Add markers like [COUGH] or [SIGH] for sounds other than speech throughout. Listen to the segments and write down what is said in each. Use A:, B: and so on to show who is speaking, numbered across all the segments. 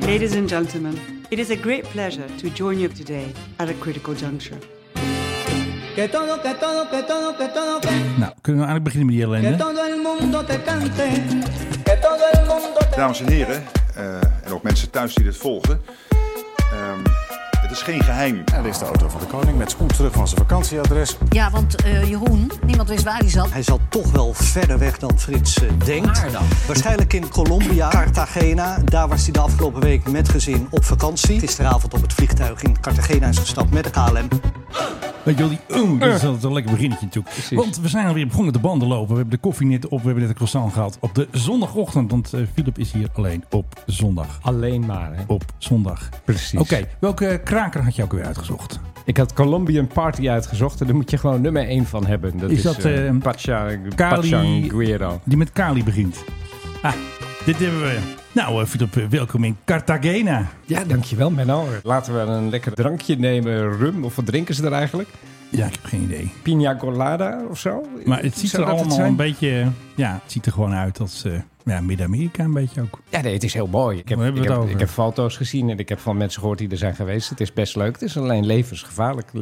A: Ladies and gentlemen, it is a great pleasure to join you today at a critical juncture.
B: Que todo, que todo, que todo, que todo, que,
C: Nou, kunnen we eigenlijk beginnen met die
B: que
C: ellende?
B: todo el mundo te cante. Que todo el mundo te
D: Dames en heren, eh, en ook mensen thuis die dit volgen. ehm, het is geen geheim.
E: Er is de auto van de koning met spoed terug van zijn vakantieadres.
F: Ja, want eh, Jeroen, niemand wist waar hij zat.
G: Hij zat toch wel verder weg dan Frits eh, denkt. Waarschijnlijk in Colombia, Cartagena. Daar was hij de afgelopen week met gezin op vakantie. Gisteravond op het vliegtuig in Cartagena is gestapt met de KLM.
C: Weet je wel, die oeh, dat is altijd een lekker beginnetje natuurlijk. Want we zijn alweer begonnen te banden lopen. We hebben de koffie net op, we hebben net een croissant gehad op de zondagochtend. Want eh, Philip is hier alleen op zondag.
H: Alleen maar, hè?
C: Op zondag.
H: Precies.
C: Oké, welke kraker had je ook weer uitgezocht?
H: Ik had Colombian Party uitgezocht en daar moet je gewoon nummer 1 van hebben. Dat
C: Is
H: is,
C: dat,
H: eh,
C: eh,
H: Pacha,
C: Kali-
H: Pachang Guero.
C: Die met Kali begint. Ah, dit hebben we. Nou, eh, Philip, eh, welkom in Cartagena.
H: Ja, dankjewel Menno. Laten we een lekker drankje nemen, rum, of wat drinken ze er eigenlijk?
C: Ja, ik heb geen idee.
H: Pina colada of zo?
C: Maar het ziet
H: Zou
C: er
H: dat het
C: allemaal
H: zijn?
C: een beetje... Ja, het ziet er gewoon uit als eh, ja, Midden-Amerika een beetje ook.
H: Ja, nee, het is heel mooi. Ik heb,
C: Waar hebben
H: ik,
C: we het
H: heb,
C: over?
H: ik heb foto's gezien en ik heb van mensen gehoord die er zijn geweest. Het is best leuk. Het is alleen levensgevaarlijk,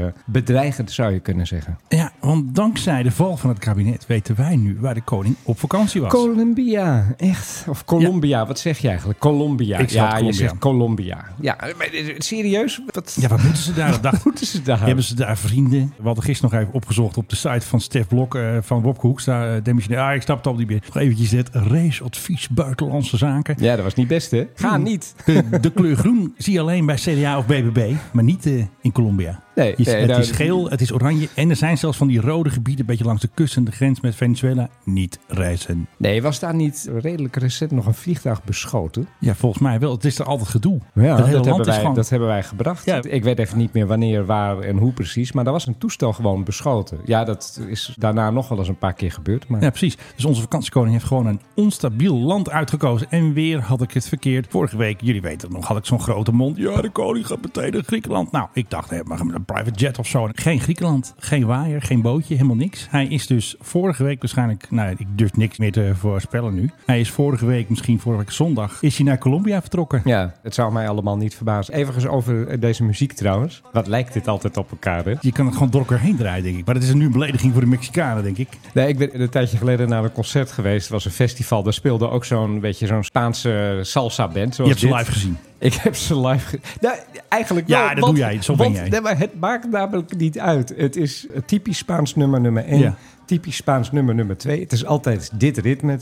H: levensbedreigend zou je kunnen zeggen.
C: Ja, want dankzij de val van het kabinet weten wij nu waar de koning op vakantie was.
H: Colombia, echt. Of Colombia, wat zeg je eigenlijk? Colombia.
C: Ik zeg
H: ja,
C: Colombia.
H: je zegt Colombia. Ja, maar eh, serieus? Wat
C: ja, wat moeten ze daar? Dat
H: [LAUGHS]
C: dacht,
H: moeten ze daar?
C: hebben ze daar vrienden? We hadden gisteren nog even opgezocht op de site van Stef Blok eh, van Wopke Hoekstra, eh, demissionair. Ah, ik stapte op die weer. Nog eventjes dit raceadvies buitenlandse zaken.
H: Ja, dat was niet best, hè? Hmm. Ga
C: [LAUGHS]
H: niet.
C: De, de kleur groen zie je alleen bij CDA of BBB, maar niet eh, in Colombia.
H: Nee,
C: Je-
H: nee,
C: het
H: nou,
C: is geel, het is oranje en er zijn zelfs van die rode gebieden, een beetje langs de kust en de grens met Venezuela, niet reizen.
H: Nee, was daar niet redelijk recent nog een vliegtuig beschoten?
C: Ja, volgens mij wel. Het is er altijd gedoe. het hele
H: dat,
C: land
H: hebben
C: is
H: wij,
C: gewoon-
H: dat hebben wij gebracht.
C: Ja.
H: Ik weet even niet meer wanneer, waar en hoe precies. Maar daar was een toestel gewoon beschoten. Ja, dat is daarna nog wel eens een paar keer gebeurd. Maar
C: Ja, precies. Dus onze vakantiekoning heeft gewoon een onstabiel land uitgekozen. En weer had ik het verkeerd. Vorige week, jullie weten het nog, had ik zo'n grote mond. Ja, de koning gaat meteen naar Griekenland. Nou, ik dacht, hè, maar een private jet of zo. Geen Griekenland, geen waaier, geen bootje, helemaal niks. Hij is dus vorige week waarschijnlijk... Nou, ik durf niks meer te voorspellen nu. Hij is vorige week, misschien vorige week zondag, is hij naar Colombia vertrokken.
H: ja, het zou mij allemaal niet verbazen. Even over eh, deze muziek trouwens. Wat lijkt dit altijd op elkaar, hè?
C: Je kan het gewoon door elkaar heen draaien, denk ik. Maar dat is nu een belediging voor de Mexicanen, denk ik.
H: Nee, ik ben een tijdje geleden naar een concert geweest. Het was een festival. Daar speelde ook zo'n beetje zo'n Spaanse salsa-band.
C: Je hebt ze live gezien.
H: Ik heb ze live. ge- Nou, eigenlijk
C: Ja,
H: wel,
C: dat doe jij, zo ben
H: want,
C: jij.
H: nee, maar het maakt namelijk niet uit. Het is een typisch Spaans nummer nummer 1.
C: Ja.
H: Typisch Spaans nummer nummer 2. Het is altijd dit ritme.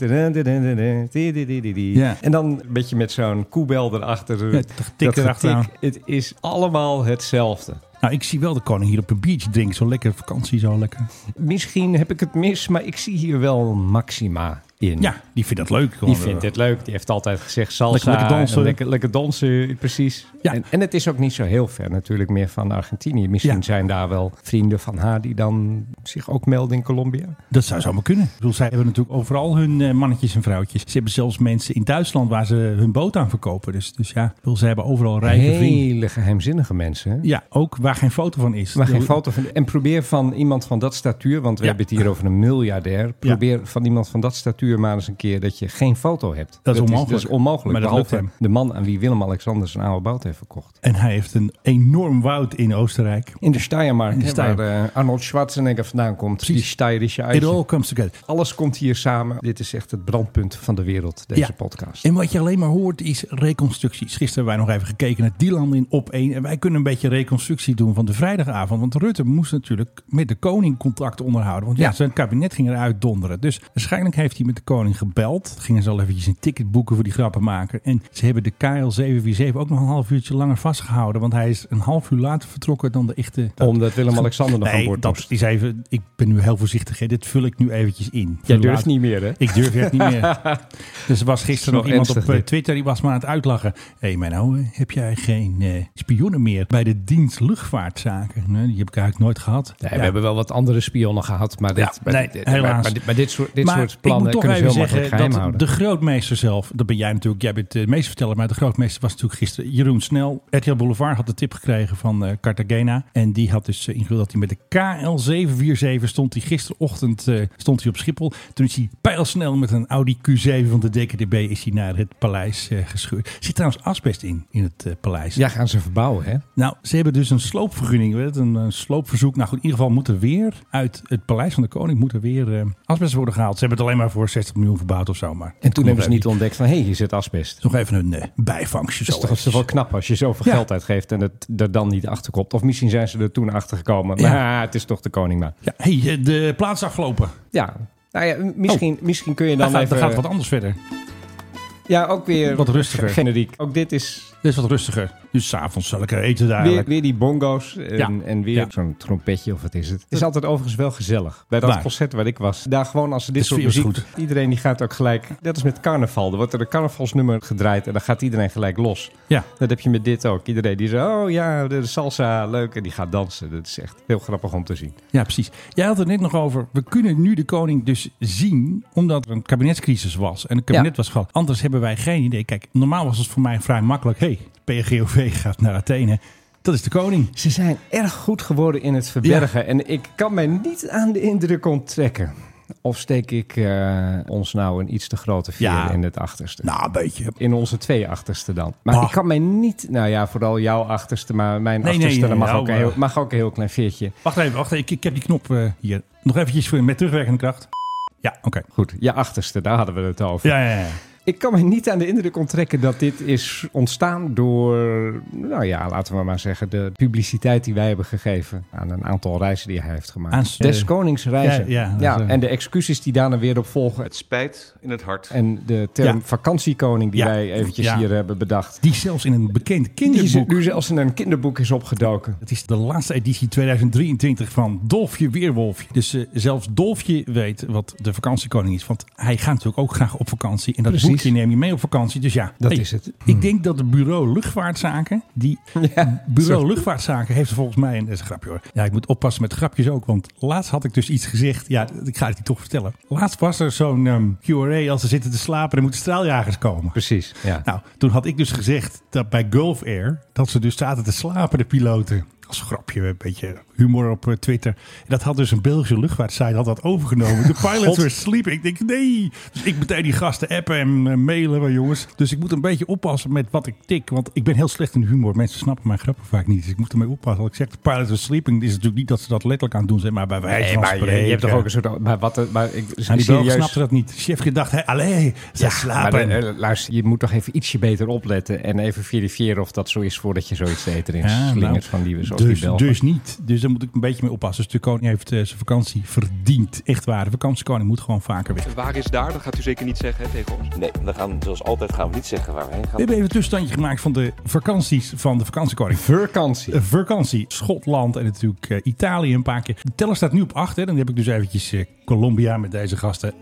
C: Ja.
H: En dan een beetje met zo'n koebel erachter.
C: Ja, tik
H: Dat
C: erachteraan.
H: getik. Het is allemaal hetzelfde.
C: Nou, ik zie wel de koning hier op een biertje drinken. Zo lekker vakantie, zo lekker.
H: Misschien heb ik het mis, maar ik zie hier wel Maxima in.
C: Ja, die vindt dat leuk.
H: Die
C: Gewoon,
H: vindt
C: eh,
H: het leuk. Die heeft altijd gezegd
C: Lekker-
H: salsa.
C: lekker dansen.
H: en Lekker, lekker dansen, precies.
C: Ja.
H: En, en het is ook niet zo heel ver natuurlijk meer van Argentinië. Misschien
C: Ja.
H: zijn daar wel vrienden van haar die dan zich ook melden in Colombia.
C: Dat zou zomaar kunnen. Ik bedoel, zij hebben natuurlijk overal hun eh, mannetjes en vrouwtjes. Ze hebben zelfs mensen in Duitsland waar ze hun boot aan verkopen. Dus, dus ja, ik bedoel, ze hebben overal rijke vrienden.
H: Hele geheimzinnige mensen. hè?
C: Ja, ook waar geen foto van is.
H: Maar geen
C: Ik bedoel,
H: foto van. En probeer van iemand van dat statuur, want we
C: Ja.
H: hebben het hier over een miljardair. Probeer van iemand van dat statuur maar eens een keer dat je geen foto hebt. Dat,
C: onmogelijk.
H: dat is onmogelijk.
C: Maar dat lukt
H: behalve de man aan wie Willem-Alexander zijn oude boot heeft verkocht.
C: En hij heeft een enorm woud in Oostenrijk.
H: In de Steiermark,
C: de
H: hè,
C: Steiermark.
H: waar eh, Arnold Schwarzenegger vandaan komt.
C: Precies.
H: Die Steirische
C: It
H: eitje.
C: all comes together.
H: Alles komt hier samen. Dit is echt het brandpunt van de wereld, deze
C: Ja.
H: podcast.
C: En wat je alleen maar hoort is reconstructies. Gisteren hebben wij nog even gekeken naar die landen in op één. En wij kunnen een beetje reconstructie doen van de vrijdagavond. Want Rutte moest natuurlijk met de koning contact onderhouden. Want ja,
H: Ja.
C: zijn kabinet ging eruit donderen. Dus waarschijnlijk heeft hij met de koning gebeld. Gingen ze al eventjes een ticket boeken voor die grappenmaker. En ze hebben de KL747 ook nog een half uurtje langer vastgehouden. Want hij is een half uur later vertrokken dan de echte...
H: Omdat Willem-Alexander nog aan
C: Nee,
H: boord
C: dat
H: moest.
C: is even... Ik ben nu heel voorzichtig. Hè. Dit vul ik nu eventjes in.
H: Jij
C: Voor
H: durft
C: later.
H: niet meer, hè?
C: Ik durf het niet
H: [LAUGHS]
C: meer. Dus er was gisteren
H: wel
C: nog iemand op
H: ernstig,
C: eh,
H: dit.
C: Twitter die was me aan het uitlachen. Hé hey, Menno, eh, heb jij geen eh, spionnen meer bij de dienst luchtvaartzaken? Nee, die heb ik eigenlijk nooit gehad.
H: Nee,
C: Ja.
H: We hebben wel wat andere spionnen gehad, maar dit,
C: Ja,
H: maar
C: nee,
H: dit- maar-
C: helaas.
H: maar dit, maar dit soort, dit
C: Maar
H: soort
C: ik
H: plannen
C: moet toch
H: kunnen ze
C: even
H: heel makkelijk
C: zeggen
H: geheim
C: dat
H: houden.
C: de grootmeester zelf, dat ben jij natuurlijk, jij bent de meesterverteller, maar de grootmeester was natuurlijk gisteren Jeroen Snel. RTL Boulevard had de tip gekregen van eh, Cartagena en die had dus eh, ingevuld dat hij met de 447 stond hij gisterochtend eh, stond hij op Schiphol. Toen is hij pijlsnel met een Audi Q7 van de DKDB is hij naar het paleis eh, gescheurd. Zit trouwens asbest in, in het eh, paleis.
H: Ja, gaan ze verbouwen, hè?
C: Nou, ze hebben dus een sloopvergunning, weet het, een, eh, sloopverzoek. Nou goed, in ieder geval moet er weer uit het Paleis van de Koning moet er weer eh, asbest worden gehaald. Ze hebben het alleen maar voor 60 miljoen verbouwd of zo. Maar
H: En toen hebben ze niet ontdekt van, hé, hey, hier zit asbest.
C: Nog even een eh, bijvangstje. zo
H: Dat is toch, dat is
C: eventjes.
H: toch wel knap als je zoveel
C: Ja.
H: geld uitgeeft en het er dan niet achter komt. Of misschien zijn ze er toen achter gekomen.
C: Ja.
H: Maar het is toch de koning maar.
C: Ja, hey, eh, de plaats is afgelopen.
H: Ja, nou ja misschien, misschien kun je
C: Dan
H: dan
C: Oh. gaat,
H: even...
C: dan gaat wat anders verder.
H: ja, ook weer
C: Wat rustiger.
H: generiek. Ook dit is
C: Dit is wat rustiger. Dus s'avonds zal ik er eten
H: weer,
C: dadelijk.
H: weer die bongo's en,
C: Ja.
H: en weer
C: Ja.
H: zo'n trompetje of wat is het. Het is altijd overigens wel gezellig. Bij dat
C: Waar?
H: concert waar ik was. Daar gewoon als ze dit
C: De
H: soort
C: sfeer
H: muziek...
C: was
H: Iedereen die gaat ook gelijk... Net als met carnaval. Er wordt er een carnavalsnummer gedraaid en dan gaat iedereen gelijk los.
C: Ja.
H: Dat heb je met dit ook. Iedereen die zegt, oh ja, de salsa, leuk. En die gaat dansen. Dat is echt heel grappig om te zien.
C: ja, precies. Jij had het net nog over, we kunnen nu de koning dus zien, omdat er een kabinetscrisis was. En het kabinet
H: Ja.
C: was gevallen. Anders hebben wij geen idee. Kijk, normaal was het voor mij vrij makkelijk. Hé, hey, PGOV gaat naar Athene. Dat is de koning.
H: Ze zijn erg goed geworden in het verbergen. En ik kan mij niet aan de indruk onttrekken. Of steek ik eh, ons nou een iets te grote veer
C: Ja.
H: in het achterste?
C: Nou, een beetje.
H: In onze twee achterste dan. Maar
C: Ah.
H: ik kan mij niet... Nou ja, vooral jouw achterste, maar mijn
C: Nee, nee,
H: achterste... dan mag,
C: jouw,
H: ook een heel,
C: eh,
H: mag ook een heel klein veertje.
C: Wacht even, wacht even. Ik, ik heb die knop eh, hier. Nog eventjes voor, met terugwerkende kracht. Ja, oké.
H: Goed, je achterste, daar hadden we het over.
C: Ja, ja, ja.
H: Ik kan me niet aan de indruk onttrekken dat dit is ontstaan door, nou ja, laten we maar zeggen, de publiciteit die wij hebben gegeven aan een aantal reizen die hij heeft gemaakt.
C: Aan- eh,
H: Des Konings reizen.
C: Ja, ja, dat is, eh,
H: en de excuses die daarna weer op volgen.
I: Het spijt in het hart.
H: En de term
C: Ja.
H: vakantiekoning die
C: Ja.
H: wij eventjes
C: Ja.
H: hier hebben bedacht.
C: Die zelfs in een bekend
H: Die is
C: dus kinderboek.
H: nu zelfs in een kinderboek is opgedoken.
C: Het is de laatste editie 2023 van Dolfje Weerwolfje. Dus eh, zelfs Dolfje weet wat de vakantiekoning is. Want hij gaat natuurlijk ook graag op vakantie. En dat
H: Precies.
C: boekje neem je mee op vakantie. Dus ja,
H: Dat
C: hey,
H: is het. Hmm.
C: Ik denk dat het bureau luchtvaartzaken, die
H: [LAUGHS] Ja,
C: bureau luchtvaartzaken heeft er volgens mij een, dat is een grapje hoor. Ja, ik moet oppassen met grapjes ook, want laatst had ik dus iets gezegd. Ja, ik ga het je toch vertellen. Laatst was er zo'n ehm, QRA als ze zitten te slapen, dan moeten straaljagers komen.
H: Precies. Ja.
C: Nou, toen had ik dus gezegd dat bij Gulf Air, dat ze dus zaten te slapen, de piloten. Als grapje, een beetje humor op eh, Twitter. En dat had dus een Belgische luchtvaartsite had dat overgenomen. De
H: [LAUGHS]
C: pilots were sleeping. Ik denk, nee. Dus ik meteen die gasten appen en eh, mailen, maar jongens. Dus ik moet een beetje oppassen met wat ik tik. Want ik ben heel slecht in humor. Mensen snappen mijn grappen vaak niet. Dus ik moet ermee oppassen. Als ik zeg, de pilots were sleeping, is het natuurlijk niet dat ze dat letterlijk aan het doen zijn. Maar bij wijze
H: Nee,
C: van
H: maar je,
C: spreken.
H: je hebt toch ook een soort. Maar wat. Maar ik,
C: Nou, die Belgen
H: serieus-
C: snapten dat niet. Chef gedacht, hé, allee, ze
H: Maar
C: slapen.
H: eh, luister, je moet toch even ietsje beter opletten en even verifiëren of dat zo is voordat je zoiets te eten in
C: Ja,
H: slingert
C: nou,
H: van die zoals
C: dus,
H: die Belgen.
C: dus niet. Dus daar moet ik een beetje mee oppassen. Dus de koning heeft eh, zijn vakantie verdiend. Echt waar. De vakantiekoning moet gewoon vaker weg.
I: Waar is daar? Dat gaat u zeker niet zeggen hè, tegen ons.
J: Nee, we gaan zoals altijd gaan we niet zeggen waar we heen
C: We
J: gaan.
C: hebben even een tussenstandje gemaakt van de vakanties van de vakantiekoning.
H: Vakantie.
C: Eh, vakantie. Schotland en natuurlijk eh, Italië een paar keer. De teller staat nu op 8. Hè. Dan heb ik dus eventjes eh, Colombia met deze gasten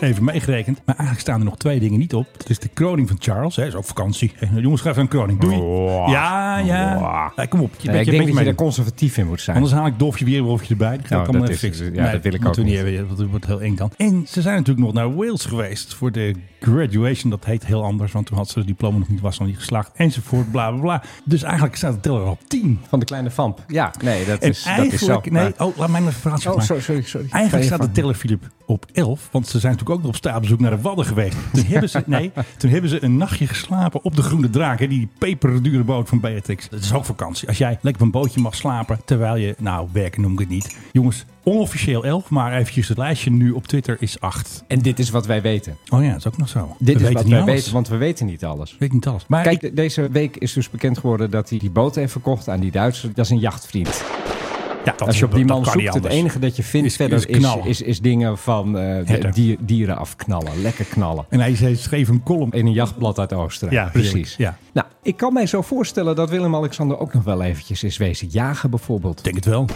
C: even meegerekend. Maar eigenlijk staan er nog twee dingen niet op. Dat is de kroning van Charles. Hè. Is ook vakantie. Eh, Jongens, schrijf een kroning. Doei.
H: Wow.
C: Ja, ja.
H: Wow.
C: Ja, kom op. Je, bent-
H: Nee, ik
C: je bent
H: denk dat je
C: mee.
H: daar conservatief in moet zijn.
C: Anders haal ik Dolfje Weerwolfje erbij. Die ga
H: Nou,
C: ik allemaal
H: dat
C: even
H: is-
C: fixen.
H: ja, dat wil ik
C: moeten
H: ook
C: we
H: niet.
C: hebben, want het wordt heel eng dan. En ze zijn natuurlijk nog naar Wales geweest voor de graduation. Dat heet heel anders, want toen had ze het diploma nog niet, was nog niet geslaagd. Enzovoort, bla bla bla. Dus eigenlijk staat de teller al op 10.
H: Van de kleine vamp. Ja, nee, dat
C: En
H: is, dat is zo.
C: eigenlijk, nee, oh, laat mij een verhaaltje
H: Oh,
C: maken.
H: sorry, sorry, sorry. Ga je
C: Eigenlijk staat de
H: gang.
C: teller, Filip, op 11. Want ze zijn natuurlijk ook nog op staatsbezoek naar de Wadden geweest. Toen,
H: [LAUGHS]
C: hebben ze, nee, toen hebben ze een nachtje geslapen op de Groene Draak. Hè, die peperdure boot van Beatrix. Dat is ook vakantie. Als jij lekker op een bootje mag slapen terwijl je... Nou, werken noem ik het niet. Jongens, onofficieel 11. Maar eventjes het lijstje nu op Twitter is 8.
H: en dit is wat wij weten.
C: Oh ja, dat is ook nog zo.
H: Dit
C: We
H: is
C: weten
H: wat
C: niet
H: wij
C: alles.
H: weten, want we weten niet alles.
C: Ik weet niet alles. Maar
H: Kijk,
C: ik-
H: de- deze week is dus bekend geworden dat hij die boot heeft verkocht aan die Duitser. Dat is een jachtvriend.
C: ja, dat
H: Als
C: is-
H: je op die
C: dat
H: man
C: kan niet
H: zoekt, het
C: anders.
H: enige dat je vindt
C: Is-
H: verder
C: is
H: is, is,
C: knallen.
H: is, dingen van eh, de-
C: Herder.
H: dier- dieren afknallen. Lekker knallen.
C: En hij zei- schreef een column.
H: In een jachtblad uit Oostenrijk.
C: Ja, heerlijk, ja.
H: Nou, ik kan mij zo voorstellen dat Willem-Alexander ook nog wel eventjes is wezen jagen bijvoorbeeld.
C: Ik denk het wel.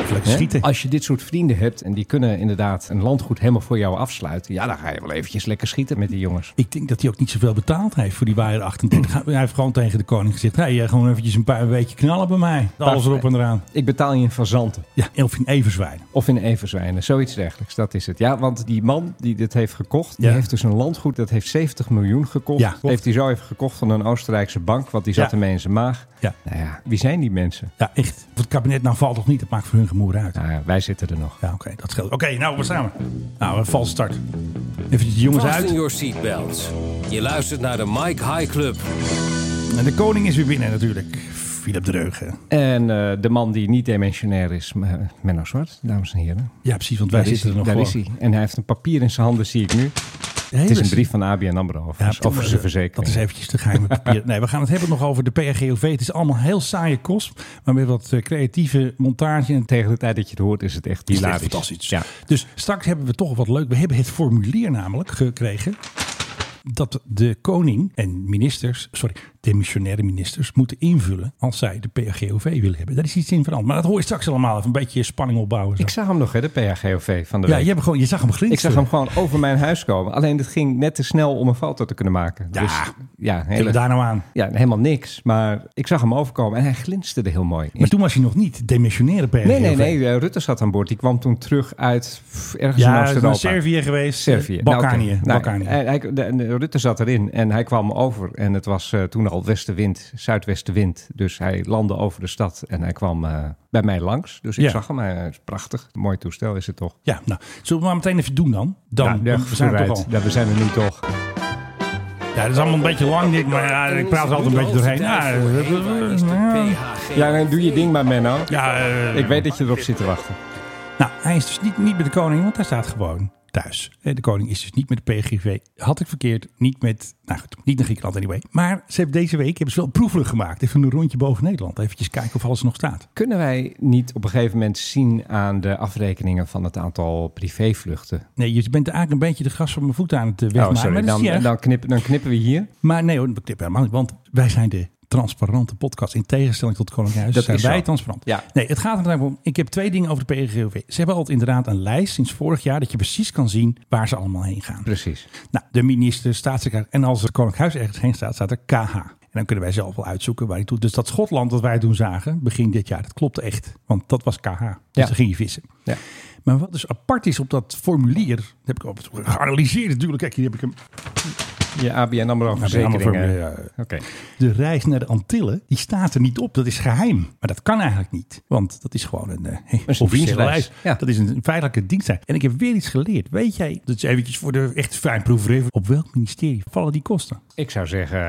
C: Even lekker
H: Hè?
C: schieten.
H: Als je dit soort vrienden hebt en die kunnen inderdaad een landgoed helemaal voor jou afsluiten, ja, dan ga je wel eventjes lekker schieten met die jongens.
C: Ik denk dat hij ook niet zoveel betaald heeft voor die waaier 38. Hij heeft gewoon tegen de koning gezegd... Hey, eh, gewoon eventjes een paar weken knallen bij mij. Alles erop en eraan.
H: Ik betaal je in fazanten
C: Ja, Elfin Everzwijn.
H: of in everzwijnen, zoiets dergelijks. Dat is het. Ja, want die man die dit heeft gekocht,
C: Ja.
H: die heeft dus een landgoed dat heeft 70 miljoen gekocht.
C: Ja.
H: Heeft hij zo even gekocht van een Oostenrijkse bank, want die zat
C: Ja.
H: ermee in zijn maag.
C: Ja.
H: Nou ja, wie zijn die mensen?
C: Ja, echt. Of het kabinet nou valt of niet, dat maakt voor hun moer uit.
H: Nou ja, wij zitten er nog.
C: Ja, oké, dat scheelt. Oké, nou, we samen. Nou, een valse start. Even de jongens
K: Vast in
C: uit.
K: your seatbelts. Je luistert naar de Mike High Club.
C: En de koning is weer binnen natuurlijk. Philip Dreugen.
H: En eh, de man die niet demensionair is, M- Menno Zwart, dames en heren.
C: Ja, precies, want wij
H: Daar is
C: zitten
H: hij,
C: er nog
H: Daar is
C: gewoon. dus-
H: hij. En hij heeft een papier in zijn handen, zie ik nu. Het is een brief van ABN AMRO over,
C: Ja,
H: over zijn verzekering.
C: Dat is eventjes de geheime papier. Nee, we gaan het hebben nog over de PRGOV. Het is allemaal heel saaie kost. Maar met wat eh, creatieve montage en
H: Tegen de tijd dat je het hoort is het echt
C: Is dit
H: hilarisch.
C: fantastisch.
H: Ja.
C: Dus straks hebben we toch wat leuk. We hebben het formulier namelijk gekregen. Dat de koning en ministers, sorry, demissionaire ministers, moeten invullen als zij de PAGOV willen hebben. Daar is iets in veranderd. Maar dat hoor je straks allemaal even een beetje spanning opbouwen. zo.
H: Ik zag hem nog, hè, de PHGOV van de
C: ja,
H: week.
C: je, hebt gewoon, je zag hem
H: Ik
C: glinsteren.
H: zag hem gewoon over mijn huis komen. Alleen het ging net te snel om een foto te kunnen maken.
C: Ja.
H: Dus, ja,
C: Zit
H: hele,
C: het daar nou aan.
H: ja, helemaal niks. Maar ik zag hem overkomen en hij glinsterde heel mooi.
C: Maar toen was hij nog niet demissionaire PAGOV.
H: Nee, nee, nee. eh, Rutte zat aan boord. Die kwam toen terug uit pff, ergens in
C: Ja, hij is
H: Amsterdam.
C: naar Servië geweest.
H: Servië.
C: Balkanië.
H: Nou, oké. Nou,
C: Balkanië.
H: hij- hij- de- de- Rutte zat erin en hij kwam over. En het was eh, toen al westenwind, zuidwestenwind. Dus hij landde over de stad en hij kwam eh, bij mij langs. Dus ik
C: Ja.
H: zag hem. Hij is prachtig. Mooi toestel is het toch?
C: Ja, nou, zullen we maar meteen even doen dan? Dan
H: Nou, ja,
C: dan zijn we toch
H: vooruit.
C: al.
H: Ja, we zijn er nu toch.
C: Ja, dat is allemaal een beetje lang, dit, maar ja, ik praat er altijd een beetje doorheen. Ja, eh, eh,
H: Ja, dan doe je ding maar, Menno.
C: ja, eh,
H: Ik weet dat je erop zit te wachten.
C: Nou, hij is dus niet, niet met de koning, want hij staat gewoon thuis. Eh, De koning is dus niet met de PGV. Had ik verkeerd, niet met, nou goed, niet naar Griekenland anyway. Maar ze hebben deze week hebben ze wel proeverig gemaakt. Even een rondje boven Nederland. Even kijken of alles nog staat.
H: Kunnen wij niet op een gegeven moment zien aan de afrekeningen van het aantal privévluchten?
C: Nee, je bent eigenlijk een beetje de gras van mijn voeten aan het eh, wegmaken.
H: Oh, sorry.
C: maar dat is
H: Dan,
C: niet erg.
H: dan, knip, dan knippen we hier.
C: Maar nee hoor, dat klopt helemaal niet. Want wij zijn de transparante podcast. In tegenstelling tot Koninkhuis
H: Dat
C: zijn
H: is
C: wij
H: zo.
C: transparant.
H: Ja.
C: Nee, het gaat er namelijk om. Ik heb twee dingen over de PGGOV. Ze hebben altijd inderdaad een lijst sinds vorig jaar... dat je precies kan zien waar ze allemaal heen gaan.
H: Precies.
C: Nou, de minister, staatssecretaris. En als het Koninkhuis ergens heen staat, staat er KH. En dan kunnen wij zelf wel uitzoeken waar hij toe. Dus dat Schotland dat wij toen zagen, begin dit jaar, dat klopte echt. Want dat was KH. Dus
H: Ja.
C: daar ging je vissen.
H: Ja.
C: Maar wat dus apart is op dat formulier, dat heb ik op geanalyseerd natuurlijk. Kijk, hier heb ik hem.
H: Je ABN AMRO
C: formulier,
H: verzekeringen.
C: ja.
H: Oké.
C: De reis naar de Antillen, die staat er niet op. Dat is geheim. Maar dat kan eigenlijk niet. Want dat is gewoon een, eh, officiële
H: dienstreis.
C: reis.
H: Ja.
C: Dat is een, een feitelijke dienstreis. En ik heb weer iets geleerd. Weet jij, dat is eventjes voor de echt fijnproeverij. Op welk ministerie vallen die kosten?
H: Ik zou zeggen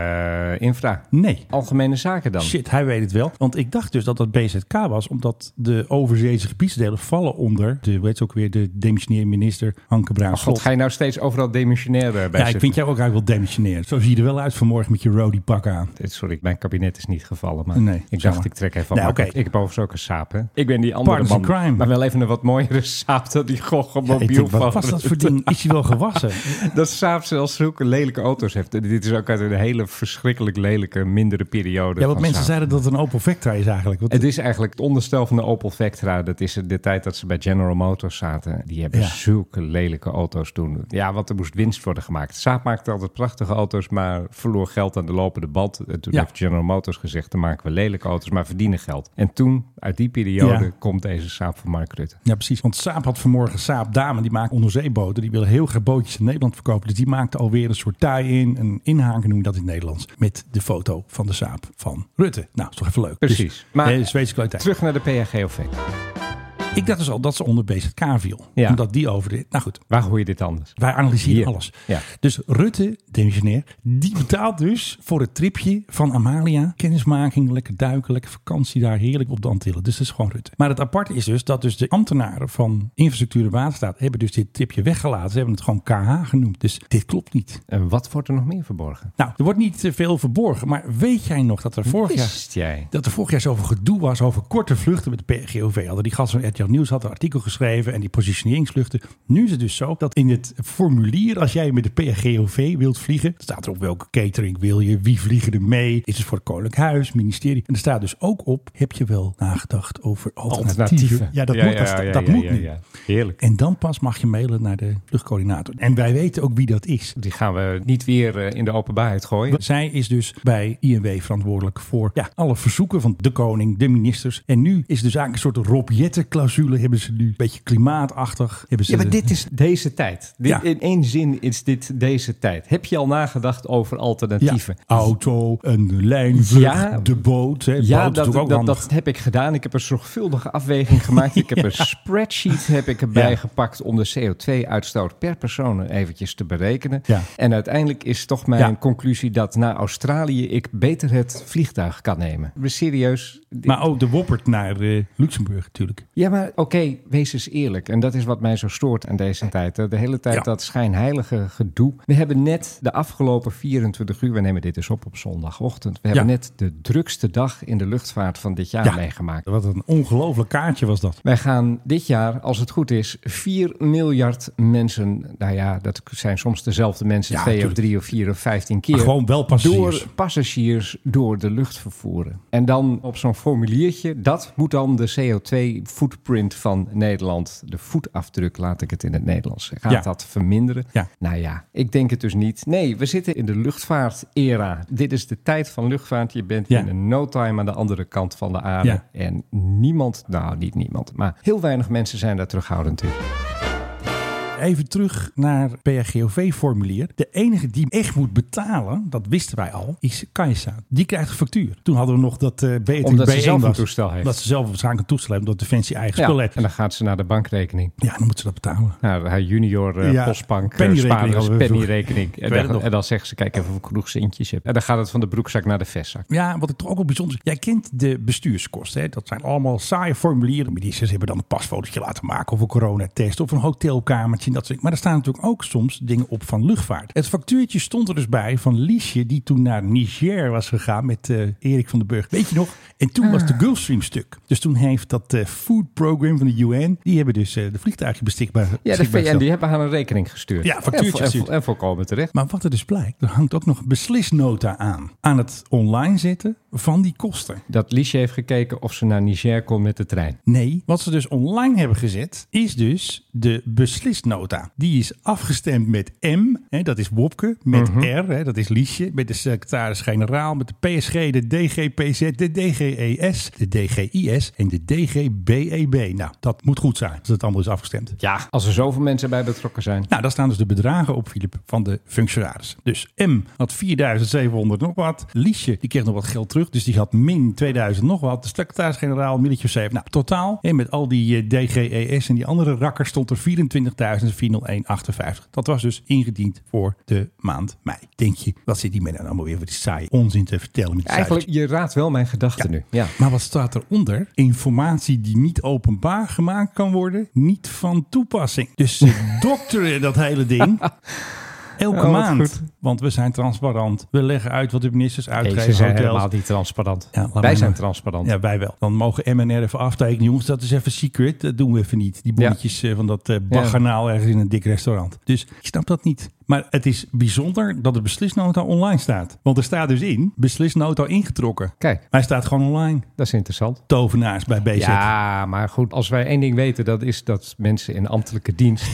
H: eh, infra.
C: Nee.
H: Algemene zaken dan.
C: Shit, hij weet het wel. Want ik dacht dus dat dat BZK was, omdat de overzeese gebiedsdelen vallen onder de, weet je ook weer, de demissionair minister Hanke Bruin.
H: God, ga je nou steeds overal demissionair eh, bij
C: ja, ik
H: zitten?
C: vind jou ook eigenlijk wel demissionair. Zo zie je er wel uit vanmorgen met je roadie pak aan.
H: Eh, Sorry, mijn kabinet is niet gevallen, maar
C: Nee,
H: ik
C: jammer.
H: dacht ik trek even
C: Nee,
H: op.
C: oké.
H: Ik heb overigens ook een saap, hè? Ik ben die andere
C: Partners
H: man,
C: in crime.
H: maar wel even een wat mooiere saap dan die gochel
C: Ja, ik
H: mobiel
C: denk,
H: van
C: wat was dat
H: Rutte.
C: voor ding? Is hij wel gewassen?
H: [LAUGHS] Dat Saab zelfs zulke lelijke auto's heeft. En Dit is ook uit een hele verschrikkelijk lelijke, mindere periode.
C: Ja, want
H: van
C: mensen
H: Saab.
C: zeiden dat het een Opel Vectra is eigenlijk. Want
H: Het is eigenlijk het onderstel van de Opel Vectra. Dat is de tijd dat ze bij General Motors zaten. Die hebben
C: Ja.
H: zulke lelijke auto's toen. Ja, want er moest winst worden gemaakt. Saab maakte altijd prachtige auto's, maar verloor geld aan de lopende band. En toen
C: Ja.
H: heeft General Motors gezegd, dan maken we lelijke auto's, maar verdienen geld. En toen, uit die periode,
C: Ja.
H: komt deze Saab van Mark Rutte.
C: Ja, precies. Want Saab had vanmorgen Saab Dame, die maakt onderzeeboten. Die willen heel graag bootjes in Nederland verkopen. Dus die maakte alweer een soort tie in, een inhaken noem je dat in het Nederlands. Met de foto van de Saab van Rutte. Nou, is toch even leuk.
H: Precies.
C: Dus,
H: Maar-
C: maar, de Zweedse kwaliteit.
H: Terug naar de PHGOV.
C: Ik dacht dus al dat ze onder BZK viel.
H: Ja.
C: Omdat die over de... Nou goed,
H: Waar hoor je dit anders?
C: wij analyseren
H: Hier.
C: alles.
H: Ja.
C: Dus Rutte, demissionair, die betaalt dus voor het tripje van Amalia. Kennismaking, lekker duiken, lekker vakantie daar, heerlijk op de Antillen. Dus dat is gewoon Rutte. Maar het aparte is dus dat dus de ambtenaren van Infrastructuur en Waterstaat... hebben dus dit tripje weggelaten. Ze hebben het gewoon KH genoemd. Dus dit klopt niet.
H: En wat wordt er nog meer verborgen?
C: Nou, er wordt niet eh, veel verborgen. Maar weet jij nog dat er vorig jaar...
H: Wist jij?
C: Dat er vorig jaar zoveel gedoe was over korte vluchten met de PGOV. Hadden die gasten van RTL Nieuws had een artikel geschreven en die positioneringsvluchten. Nu is het dus zo dat in het formulier, als jij met de PGOV wilt vliegen, staat er op welke catering wil je, wie vliegen er mee, is het voor het Koninklijk Huis, ministerie. En er staat dus ook op, heb je wel nagedacht over alternatieven?
H: Alternatieven.
C: Ja, dat moet, dat, dat
H: ja,
C: moet
H: ja,
C: nu.
H: ja. Heerlijk.
C: En dan pas mag je mailen naar de luchtcoördinator. En wij weten ook wie dat is.
H: Die gaan we niet weer eh, in de openbaarheid gooien.
C: Zij is dus bij INW verantwoordelijk voor ja, alle verzoeken van de koning, de ministers. En nu is dus eigenlijk een soort Rob klimaatclausule hebben ze nu. Een beetje klimaatachtig. Hebben ze
H: Ja, maar dit is deze tijd. Dit,
C: Ja.
H: In één zin is dit deze tijd. Heb je al nagedacht over alternatieven?
C: Auto, een lijnvlucht,
H: Ja.
C: de boot. Hè.
H: Ja,
C: boot is
H: dat,
C: natuurlijk ook
H: dat,
C: handig.
H: dat heb ik gedaan. Ik heb een zorgvuldige
C: [LAUGHS]
H: afweging gemaakt. Ik heb een spreadsheet heb ik erbij
C: Ja.
H: gepakt om de CO2-uitstoot per persoon eventjes te berekenen.
C: Ja.
H: En uiteindelijk is toch mijn
C: Ja.
H: conclusie dat na Australië ik beter het vliegtuig kan nemen. Maar Serieus. dit-
C: Maar ook de Woppert naar eh, Luxemburg natuurlijk.
H: Ja, maar oké, wees eens eerlijk. En dat is wat mij zo stoort aan deze tijd. hè. De hele tijd
C: Ja.
H: dat schijnheilige gedoe. We hebben net de afgelopen 24 uur, we nemen dit dus op op zondagochtend. We hebben
C: Ja.
H: net de drukste dag in de luchtvaart van dit jaar
C: Ja.
H: meegemaakt.
C: Wat een ongelooflijk kaartje was dat.
H: Wij gaan dit jaar, als het goed is, 4 miljard mensen. Nou ja, dat zijn soms dezelfde mensen
C: Ja,
H: twee
C: tuurlijk.
H: of drie of vier of vijftien keer.
C: Maar gewoon wel passagiers.
H: Door passagiers door de lucht vervoeren. En dan op zo'n formuliertje, dat moet dan de CO2-footprint van Nederland, de voetafdruk, laat ik het in het Nederlands zeggen. Gaat
C: Ja.
H: dat verminderen?
C: Ja.
H: Nou ja, ik denk het dus niet. Nee, we zitten in de luchtvaart-era. Dit is de tijd van luchtvaart. Je bent
C: Ja.
H: in een no-time aan de andere kant van de aarde.
C: Ja.
H: En niemand, nou niet niemand, maar heel weinig mensen zijn daar terughoudend in.
C: Even terug naar PRGOV-formulier. De enige die echt moet betalen, dat wisten wij al, is Kajsa. Die krijgt een factuur. Toen hadden we nog dat eh Beatrix
H: Omdat ze
C: B1
H: zelf een
C: was.
H: toestel heeft.
C: Omdat ze zelf waarschijnlijk een toestel heeft, omdat Defensie eigen spul heeft.
H: en dan gaat ze naar de bankrekening.
C: Ja, dan moeten ze dat betalen.
H: Naar haar junior eh,
C: Ja,
H: postbank,
C: pennyrekening
H: pennyrekening.
C: hadden we vroeger.
H: pennyrekening.
C: Ik weet
H: En,
C: het
H: dan,
C: nog.
H: en dan zegt ze, kijk even of ik genoeg centjes heb. En dan gaat het van de broekzak naar de vestzak.
C: Ja, wat ik toch ook wel bijzonder is. Jij kent de bestuurskosten. Hè? Dat zijn allemaal saaie formulieren. De ministers hebben dan een pasfotootje laten maken of een coronatest of een hotelkamertje. en Dat soort. Maar er staan natuurlijk ook soms dingen op van luchtvaart. Het factuurtje stond er dus bij van Liesje, die toen naar Niger was gegaan met eh, Erik van den Burg. Weet je nog? En toen was
H: Ah.
C: de Gulfstream stuk. Dus toen heeft dat eh, food program van de UN, die hebben dus eh, de vliegtuigen beschikbaar.
H: Ja, de
C: beschikbaar
H: VN
C: gesteld.
H: die hebben haar een rekening gestuurd.
C: Ja, factuurtje
H: en, vo- en vo-
C: gestuurd.
H: en volkomen terecht.
C: Maar wat er dus blijkt, er hangt ook nog een beslisnota aan. Aan het online zetten van die kosten.
H: Dat Liesje heeft gekeken of ze naar Niger kon met de trein.
C: Nee, wat ze dus online hebben gezet is dus de beslisnota. Die is afgestemd met M, hè, dat is Wopke, met R, hè, dat is Liesje, met de secretaris-generaal, met de PSG, de DGPZ, de DGES, de DGIS en de DGBEB. Nou, dat moet goed zijn als het allemaal is afgestemd.
H: Ja, als er zoveel mensen bij betrokken zijn.
C: Nou, daar staan dus de bedragen op, Filip, van de functionaris. Dus M had 4700 nog wat. Liesje, die kreeg nog wat geld terug. Dus die had min 2000 nog wat. De secretaris-generaal, Milletje 7. Nou, totaal. En met al die eh, DGES en die andere rakkers stond er 24.401,58. Dat was dus ingediend voor de maand mei. Denk je, wat zit die men dan allemaal weer voor die saai onzin te vertellen met die
H: Eigenlijk, je raadt wel mijn gedachten nu. Ja.
C: maar wat staat eronder? Informatie die niet openbaar gemaakt kan worden, niet van toepassing. Dus
H: [LAUGHS]
C: ze dokteren dat hele ding. Elke
H: Oh, wat
C: maand.
H: goed.
C: Want we zijn transparant. We leggen uit wat de ministers
H: Nee,
C: uitgeven.
H: ze zijn
C: hotels.
H: helemaal niet transparant.
C: Ja, laat maar
H: Wij zijn
C: maar.
H: transparant.
C: Ja, wij wel. Dan mogen MNR even aftekenen. Jongens, dat is even secret. Dat doen we even niet. Die bonnetjes eh, van dat eh baganaal ergens in een dik restaurant. Dus ik snap dat niet. Maar het is bijzonder dat de beslisnota online staat. Want er staat dus in, beslisnota ingetrokken.
H: Kijk.
C: Maar hij staat gewoon online.
H: Dat is interessant.
C: Tovenaars bij BZ.
H: Ja, maar goed, als wij één ding weten, dat is dat mensen in ambtelijke
C: [LAUGHS]
H: dienst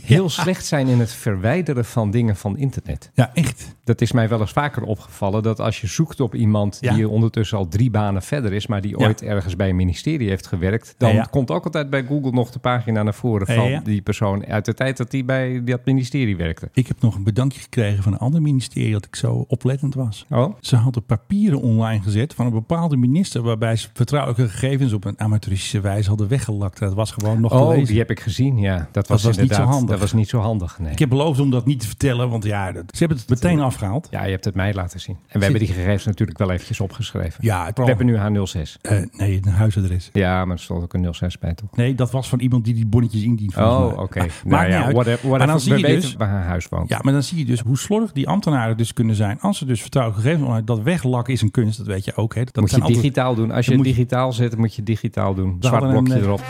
H: heel slecht zijn in het verwijderen van dingen van internet.
C: Ja, echt.
H: Dat is mij wel eens vaker opgevallen, dat als je zoekt op iemand
C: Ja.
H: die ondertussen al drie banen verder is, maar die
C: Ja.
H: ooit ergens bij een ministerie heeft gewerkt, dan
C: Ja, ja.
H: komt ook altijd bij Google nog de pagina naar voren
C: Ja,
H: van
C: ja.
H: die persoon uit de tijd dat die bij dat ministerie werkte.
C: Ik heb nog een bedankje gekregen van een ander ministerie dat ik zo oplettend was.
H: Oh,
C: Ze hadden papieren online gezet van een bepaalde minister waarbij ze vertrouwelijke gegevens op een amateuristische wijze hadden weggelakt. Dat was gewoon nog te
H: oh
C: lezen.
H: die heb ik gezien, ja. Dat, was,
C: was niet zo
H: inderdaad,
C: handig.
H: Dat was niet zo handig, nee.
C: Ik heb beloofd om dat niet te vertellen, want ja, dat, ze hebben het meteen afgehaald.
H: Ja, je hebt het mij laten zien. En we hebben die gegevens natuurlijk wel eventjes opgeschreven.
C: Ja, het
H: we hebben nu H06.
C: Eh, nee, een huisadres.
H: Ja, maar er stond ook een 06 bij toch?
C: Nee, dat was van iemand die die bonnetjes indient. volgens
H: Oh,
C: mij.
H: oké.
C: Maar- maakt niet uit.
H: whatever,
C: Maar dan
H: whatever.
C: zie
H: We
C: je
H: weten
C: dus,
H: waar haar huis woont.
C: Ja, maar dan zie je dus hoe slordig die ambtenaren dus kunnen zijn. Als ze dus vertrouwelijke gegevens online... Dat weglakken is een kunst, dat weet je ook. Hè. Dat
H: moet je
C: zijn altijd-
H: digitaal doen. Als je
C: dan
H: het
C: moet je-
H: digitaal zet, moet je digitaal doen. Zwart
C: hadden een,
H: blokje
C: eh,
H: erop.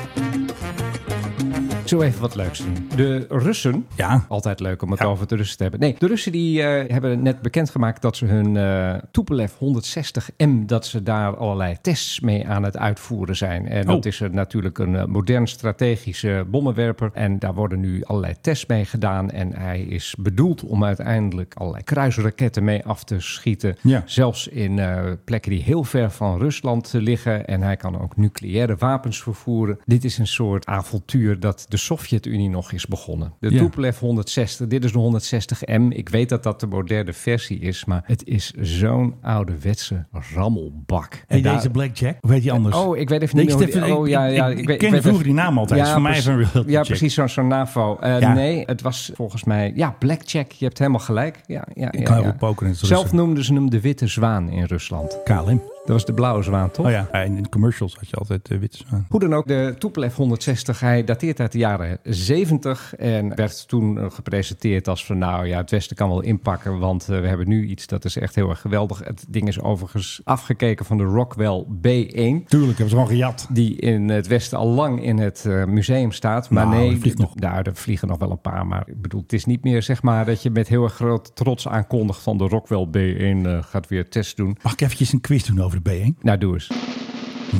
H: Zo eh, even wat leuks doen. De Russen.
C: Ja.
H: Altijd leuk om het over de Russen te hebben. Nee, de Russen die eh, hebben net bekendgemaakt dat ze hun eh Tupolev 160M, dat ze daar allerlei tests mee aan het uitvoeren zijn. En dat
C: Oh.
H: is er natuurlijk een eh, modern strategische bommenwerper. En daar worden nu allerlei tests mee gedaan. En hij is bedoeld om uiteindelijk allerlei kruisraketten mee af te schieten.
C: Ja.
H: Zelfs in eh, plekken die heel ver van Rusland eh, liggen. En hij kan ook nucleaire wapens vervoeren. Dit is een soort avontuur dat de Sovjet-Unie nog is begonnen. De
C: Ja.
H: Tupolev 160, dit is de 160M. Ik weet dat dat de moderne versie is, maar het is zo'n ouderwetse rammelbak. En
C: Hey,
H: daar-
C: deze Blackjack? Of heet die anders?
H: Oh, ik weet even
C: Nee,
H: niet
C: ik
H: meer
C: zit
H: hoe die-
C: even-
H: oh,
C: ik-
H: ja, ja,
C: ik- ik
H: weet-
C: ken
H: weet
C: vroeger
H: even-
C: die naam altijd. Voor mij
H: precies-
C: even een reality
H: Ja,
C: check.
H: precies, zo'n zo'n NAVO. Eh,
C: Ja.
H: Nee, het was volgens mij... Ja, Blackjack, je hebt helemaal gelijk. Ja, ja, ja,
C: kan heel
H: ja.
C: goed pokeren in het
H: Zelf
C: Russen.
H: noemden ze hem de witte zwaan in Rusland.
C: KLM.
H: Dat was de blauwe zwaan, toch?
C: Oh ja, en in commercials had je altijd eh, witte zwaan.
H: Hoe dan ook, de Tupolev 160, hij dateert uit de jaren 70 en werd toen eh, gepresenteerd als van nou ja, het Westen kan wel inpakken, want eh, we hebben nu iets dat is echt heel erg geweldig. Het ding is overigens afgekeken van de Rockwell B1.
C: Tuurlijk, hebben ze gewoon gejat.
H: die in het Westen al lang in het eh, museum staat. Maar
C: Nou,
H: nee,
C: er vliegt
H: d-
C: nog.
H: Daar, er vliegen nog wel een paar. Maar ik bedoel, het is niet meer zeg maar dat je met heel erg groot trots aankondigt van de Rockwell B1 eh, gaat weer test doen.
C: Mag ik eventjes een quiz doen over de B1?
H: Nou, doe eens.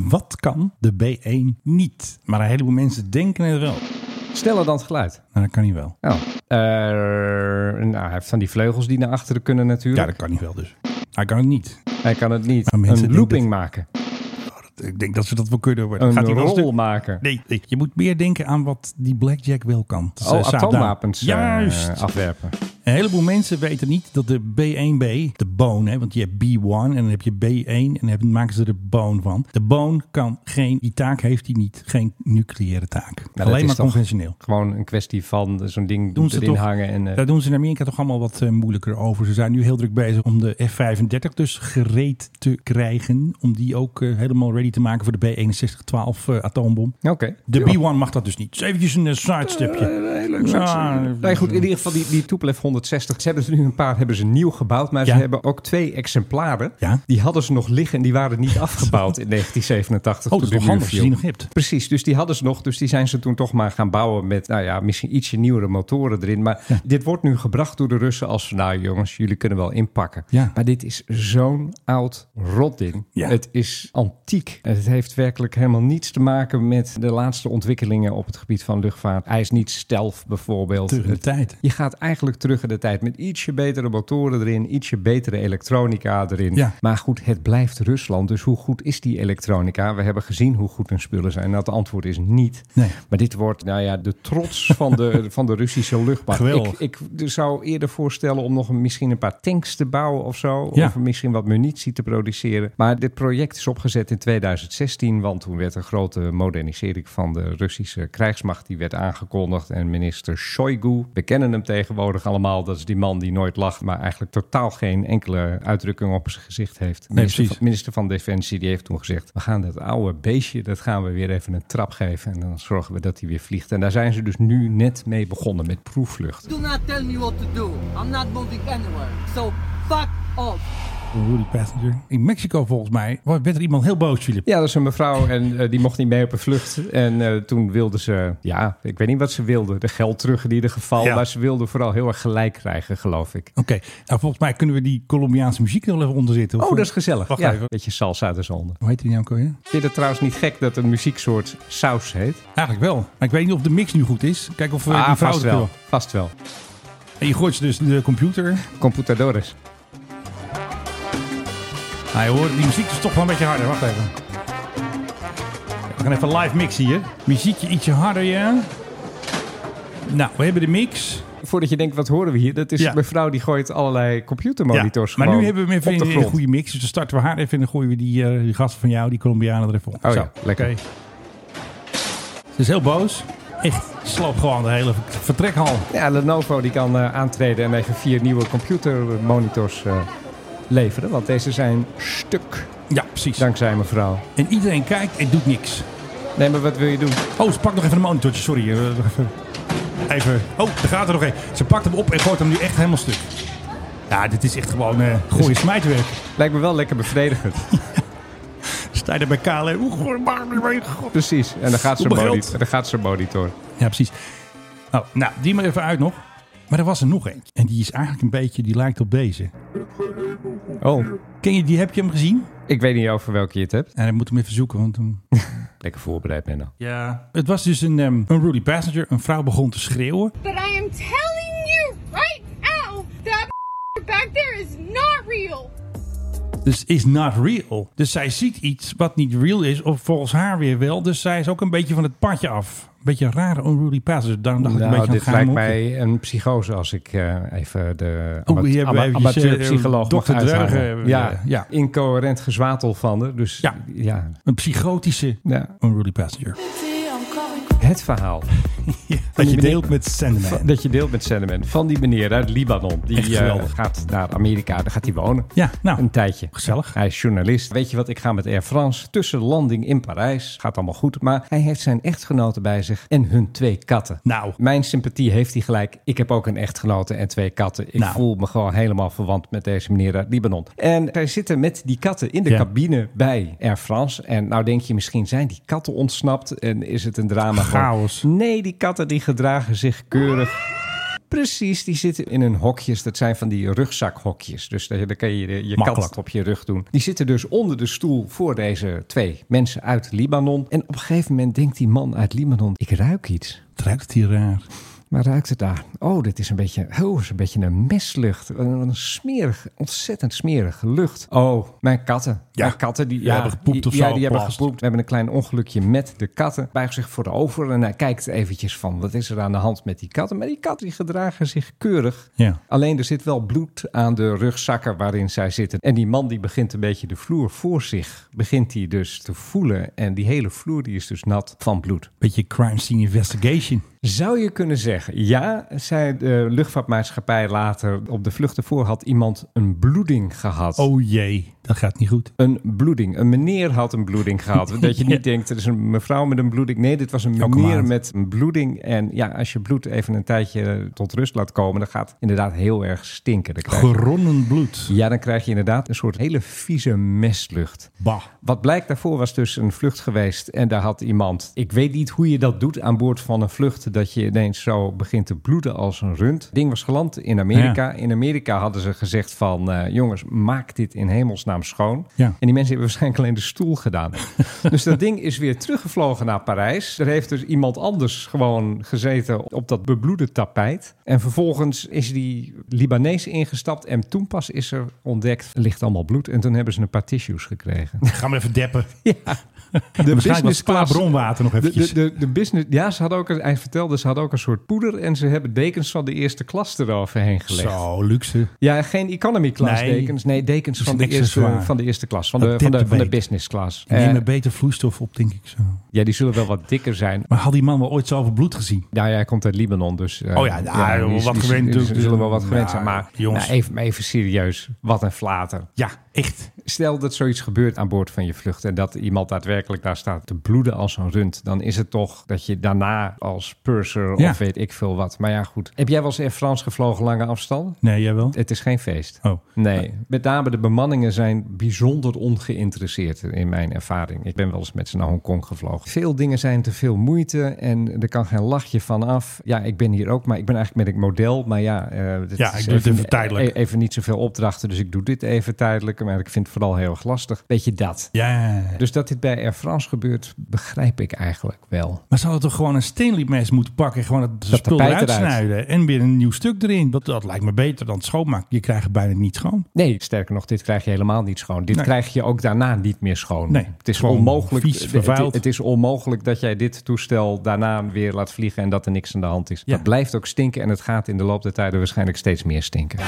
C: Wat kan de B1 niet? Maar een heleboel mensen denken het wel.
H: Sneller dan het geluid.
C: Maar dat kan niet wel.
H: Oh. Eh, nou, hij heeft van die vleugels die naar achteren kunnen
C: Ja,
H: natuurlijk.
C: dat kan niet wel dus. Hij kan het niet.
H: Hij kan het niet.
C: Maar mensen
H: Een looping
C: denken
H: maken.
C: Ik denk dat ze dat wel kunnen. worden.
H: Een
C: hij wel
H: rol
C: stuk?
H: maken.
C: Nee, nee, je moet meer denken aan wat die Blackjack wel kan. Dat is,
H: Oh,
C: eh, Saab
H: atoomwapens
C: Daan.
H: eh,
C: Juist.
H: afwerpen.
C: Een heleboel mensen weten niet dat de B1B, de bone, hè, want je hebt B1 en dan heb je B1 en dan hebben- maken ze er bone van. De bone kan geen, die taak heeft hij niet, geen nucleaire taak.
H: dat
C: Alleen
H: is
C: maar
H: toch-
C: conventioneel.
H: Gewoon een kwestie van eh, zo'n ding
C: Doen ze
H: erin
C: toch-
H: hangen. En, eh,
C: Daar doen ze in Amerika toch allemaal wat eh, moeilijker over. Ze zijn nu heel druk bezig om de F-35 dus gereed te krijgen. Om die ook eh, helemaal ready te maken voor de B-61-12 eh, atoombom.
H: Oké.
C: De
H: Ja.
C: B-1 mag dat dus niet. Dus eventjes een eh, sidestepje.
H: Heel leuk.
C: Ja, eh,
H: nee, goed, in ieder geval die, die Tupolev 160. Ze hebben er nu een paar hebben ze nieuw gebouwd, maar
C: Ja.
H: ze hebben ook twee exemplaren.
C: Ja.
H: Die hadden ze nog liggen en die waren niet [LAUGHS] afgebouwd
C: [LAUGHS]
H: in
C: Oh,
H: 1987.
C: dat is
H: toen
C: toch
H: de muur
C: handig als je
H: viel.
C: die nog hebt.
H: Precies, dus die hadden ze nog. Dus die zijn ze toen toch maar gaan bouwen met, nou ja, misschien ietsje nieuwere motoren erin. Maar dit wordt nu gebracht door de Russen als, van, nou jongens, jullie kunnen wel inpakken.
C: Ja.
H: Maar dit is zo'n oud rotding.
C: Ja.
H: Het is antiek. Het heeft werkelijk helemaal niets te maken met de laatste ontwikkelingen op het gebied van luchtvaart. Hij is niet stealth bijvoorbeeld.
C: Terug in de
H: Het-
C: tijd.
H: Je gaat eigenlijk terug in de tijd met ietsje betere motoren erin, ietsje betere elektronica erin.
C: Ja.
H: Maar goed, het blijft Rusland. Dus hoe goed is die elektronica? We hebben gezien hoe goed hun spullen zijn. Dat antwoord is niet.
C: Nee.
H: Maar dit wordt, nou ja, de trots van de, [LAUGHS] van de Russische luchtmacht.
C: Geweldig.
H: Ik, ik zou eerder voorstellen om nog een- misschien een paar tanks te bouwen of zo.
C: Ja.
H: Of misschien wat munitie te produceren. Maar dit project is opgezet in 2016. Want toen werd een grote modernisering van de Russische krijgsmacht. Die werd aangekondigd. En minister Shoigu, we kennen hem tegenwoordig allemaal. Dat is die man die nooit lacht. Maar eigenlijk totaal geen enkele uitdrukking op zijn gezicht heeft. minister,
C: precies.
H: van, minister van Defensie die heeft toen gezegd... we gaan dat oude beestje, dat gaan we weer even een trap geven... en dan zorgen we dat hij weer vliegt. En daar zijn ze dus nu net mee begonnen met proefvlucht.
B: Do not tell me what to do. I'm not moving anywhere. So fuck off.
C: Rudy Passenger. In Mexico volgens mij werd er iemand heel boos, Philip.
H: Ja, dat is een mevrouw en eh, die mocht niet mee op een vlucht. En eh, toen wilde ze, ja, ik weet niet wat ze wilde. De geld terug in ieder geval.
C: Ja.
H: Maar ze wilde vooral heel erg gelijk krijgen, geloof ik.
C: Oké, nou volgens mij kunnen we die Colombiaanse muziek er wel even onder zitten.
H: Oh, dat is gezellig.
C: Wacht
H: ja,
C: even.
H: Beetje salsa de zonde.
C: Hoe heet die nou, Kooi?
H: Vind je het trouwens niet gek dat een muzieksoort saus heet?
C: Eigenlijk wel. Maar ik weet niet of de mix nu goed is. Kijk of we die vrouw
H: Ah, vast
C: het
H: wel.
C: wil.
H: Vast wel.
C: En je gooit ze dus de computer.
H: Computadores.
C: Nou, je hoort, die muziek is toch wel een beetje harder. Wacht even. We gaan even live mixen hier. Muziekje ietsje harder, ja. Nou, we hebben de mix.
H: Voordat je denkt, wat horen we hier? Dat is
C: Ja.
H: een mevrouw die gooit allerlei computermonitors
C: Ja, Maar
H: gewoon
C: nu hebben we hem
H: op de
C: even een
H: grond.
C: goede mix. Dus dan starten we haar even en dan gooien we die, eh, die gasten van jou, die Colombianen, er even op.
H: Oh ja, lekker.
C: oké. Ze is heel boos. Echt, sloop gewoon de hele vertrekhal.
H: Ja, Lenovo die kan eh, aantreden en even vier nieuwe computermonitors eh, leveren. Want deze zijn stuk,
C: Ja, precies.
H: dankzij mevrouw.
C: En iedereen kijkt en doet niks.
H: Nee, maar wat wil je doen?
C: Oh, ze pakt nog even een monitortje, sorry. Eh, Even. Oh, daar gaat er nog een. Ze pakt hem op en gooit hem nu echt helemaal stuk. Ja, dit is echt gewoon eh gooien smijtwerk.
H: Lijkt me wel lekker bevredigend.
C: Zij er bij KLM. Oeh, goh, maar, maar, maar, goh.
H: Precies, en dan gaat ze
C: Op mijn
H: monitor.
C: geld.
H: Dan gaat ze monitor.
C: Ja, precies. Oh, nou, die maar even uit nog. Maar er was er nog eentje. En die is eigenlijk een beetje, die lijkt op deze.
H: Oh,
C: Ken je die? Heb je hem gezien?
H: ik weet niet over welke je het hebt.
C: En ik moet hem even zoeken, want hem...
H: Lekker voorbereid, Menno.
C: Ja. Het was dus een, ehm een Rudy Passenger. Een vrouw begon te schreeuwen.
L: But I am telling you right now that back there is not real.
C: Dus is not real. Dus zij ziet iets wat niet real is, of volgens haar weer wel. Dus zij is ook een beetje van het padje af. Een beetje een rare unruly passenger. Daarom dacht ik een
H: Nou,
C: beetje
H: dit
C: aan het
H: lijkt
C: gaan
H: mij een psychose als ik eh, even de
C: Oeh,
H: amat-
C: hier hebben we
H: ama-
C: eventjes, eh,
H: amateurpsycholoog mag
C: Dr. Dreugen
H: uithalen.
C: hebben we,
H: Ja,
C: eh, ja.
H: incoherent gezwatel van haar. Dus
C: Ja.
H: ja. ja.
C: Een psychotische
H: Ja.
C: unruly passenger.
H: Het verhaal
C: Dat je
H: meneer-
C: deelt met Sandman.
H: van- dat je deelt met Sentiment van die meneer uit Libanon. Die
C: Echt
H: eh,
C: geweldig.
H: gaat naar Amerika, daar gaat hij wonen.
C: Ja, nou,
H: Een tijdje.
C: gezellig.
H: Hij is journalist. Weet je wat, ik ga met Air France. Tussen de landing in Parijs. Gaat allemaal goed. Maar hij heeft zijn echtgenote bij zich en hun twee katten.
C: Nou.
H: Mijn sympathie heeft hij gelijk. Ik heb ook een echtgenote en twee katten. Ik
C: Nou.
H: voel me gewoon helemaal verwant met deze meneer uit Libanon. En zij zitten met die katten in de
C: Ja.
H: cabine bij Air France. En nou denk je misschien zijn die katten ontsnapt en is het een drama.
C: Chaos.
H: Nee, die katten die gedragen zich keurig. Precies, die zitten in hun hokjes. Dat zijn van die rugzakhokjes. Dus daar daar kan je de- je
C: Makkelijk.
H: kat op je rug doen. Die zitten dus onder de stoel voor deze twee mensen uit Libanon. En op een gegeven moment denkt die man uit Libanon... ik ruik iets.
C: Het ruikt hier raar.
H: Maar ruikt het daar? Oh, dit is een beetje, oh, is een, beetje een meslucht. Wat een wat een smerig, ontzettend smerige lucht. Oh, mijn katten.
C: Ja,
H: mijn katten die,
C: die hebben gepoept
H: die-
C: of
H: ja,
C: zo,
H: die hebben
C: plast.
H: gepoept. We hebben een klein ongelukje met de katten. Buigt zich voor de over en hij kijkt eventjes van wat is er aan de hand met die katten. Maar die katten die gedragen zich keurig.
C: Ja.
H: Alleen er zit wel bloed aan de rugzakken waarin zij zitten. En die man die begint een beetje de vloer voor zich. Begint hij dus te voelen. En die hele vloer die is dus nat van bloed.
C: Beetje crime scene investigation.
H: Zou je kunnen zeggen, ja, zei de luchtvaartmaatschappij later op de vlucht ervoor had iemand een bloeding gehad.
C: Oh jee, dat gaat niet goed.
H: Een bloeding. Een meneer had een
C: [LAUGHS]
H: bloeding gehad. Dat je niet denkt, er is een mevrouw met een bloeding. Nee, dit was een
C: Elke
H: meneer
C: maand.
H: met een bloeding. En ja, als je bloed even een tijdje tot rust laat komen, dan gaat het inderdaad heel erg stinken. Dan krijg je-
C: Geronnen bloed.
H: ja, dan krijg je inderdaad een soort hele vieze mestlucht.
C: Bah.
H: Wat blijkt daarvoor was dus een vlucht geweest en daar had iemand, ik weet niet hoe je dat doet aan boord van een vlucht, dat je ineens zo begint te bloeden als een rund. Het ding was geland in Amerika. In Amerika hadden ze gezegd van, eh, jongens, maak dit in hemelsnaam schoon.
C: Ja.
H: En die mensen hebben waarschijnlijk alleen de stoel gedaan. dus dat ding is weer teruggevlogen naar Parijs. Er heeft dus iemand anders gewoon gezeten op dat bebloede tapijt. En vervolgens is die Libanees ingestapt en toen pas is er ontdekt, er ligt allemaal bloed. En toen hebben ze een paar tissues gekregen.
C: Ga maar even deppen.
H: De
C: Waarschijnlijk was spa
H: class-
C: bronwater nog
H: De,
C: eventjes.
H: de, de, de business, ja, ze had ook, een- hij vertelde, ze had ook een soort poeder en ze hebben dekens van de eerste klas eroverheen gelegd.
C: Zo, luxe.
H: Ja, geen economy class
C: Nee.
H: dekens, nee, dekens
C: Dat is
H: van
C: een
H: de, eerste,
C: accessoire.
H: van de eerste klas, van
C: Dat
H: de, van de,
C: dipte
H: van de
C: beter.
H: business class.
C: Die nemen
H: Eh,
C: beter vloeistof op, denk ik zo.
H: ja, die zullen wel wat dikker zijn.
C: Maar had die man wel ooit zoveel bloed gezien?
H: Nou ja, hij komt uit Libanon, dus... eh,
C: Oh ja, nou,
H: die is-
C: wat
H: die is-
C: gewend
H: die
C: natuurlijk.
H: zullen wel wat gewend
C: Ja,
H: zijn, maar
C: jongens.
H: nou, even, even serieus, wat een flater.
C: Ja, echt.
H: Stel dat zoiets gebeurt aan boord van je vlucht en dat iemand daadwerkelijk daar staat te bloeden als een rund, dan is het toch dat je daarna als purser
C: Ja.
H: of weet ik veel wat. Maar ja, goed. Heb jij wel eens Air France gevlogen lange afstanden?
C: Nee, jij wel?
H: Het is geen feest.
C: Oh.
H: Nee, Nou, met name de bemanningen zijn bijzonder ongeïnteresseerd in mijn ervaring. Ik ben wel eens met ze naar Hongkong gevlogen. Veel dingen zijn te veel moeite en er kan geen lachje van af. Ja, ik ben hier ook, maar ik ben eigenlijk ben ik model. Maar ja, eh, dit
C: Ja,
H: is
C: ik doe het even tijdelijk.
H: e- Even niet zoveel opdrachten, dus ik doe dit even tijdelijk. Maar ik vind het vooral heel erg lastig. Weet je dat?
C: Ja.
H: Dus dat dit bij Air France gebeurt, begrijp ik eigenlijk wel.
C: Maar ze hadden toch gewoon een Stanley mes moeten pakken. Gewoon het spul
H: tapijt
C: eruit
H: eruit.
C: snijden. En weer een nieuw stuk erin. Dat, dat lijkt me beter dan het schoonmaken. Je krijgt het bijna niet schoon.
H: Nee, sterker nog, dit krijg je helemaal niet schoon. Dit
C: Nee.
H: krijg je ook daarna niet meer schoon.
C: Nee,
H: het is
C: gewoon
H: onmogelijk.
C: vies,
H: het-
C: vervuild.
H: Het, het is onmogelijk dat jij dit toestel daarna weer laat vliegen en dat er niks aan de hand is.
C: Ja.
H: Het blijft ook stinken en het gaat in de loop der tijden waarschijnlijk steeds meer stinken.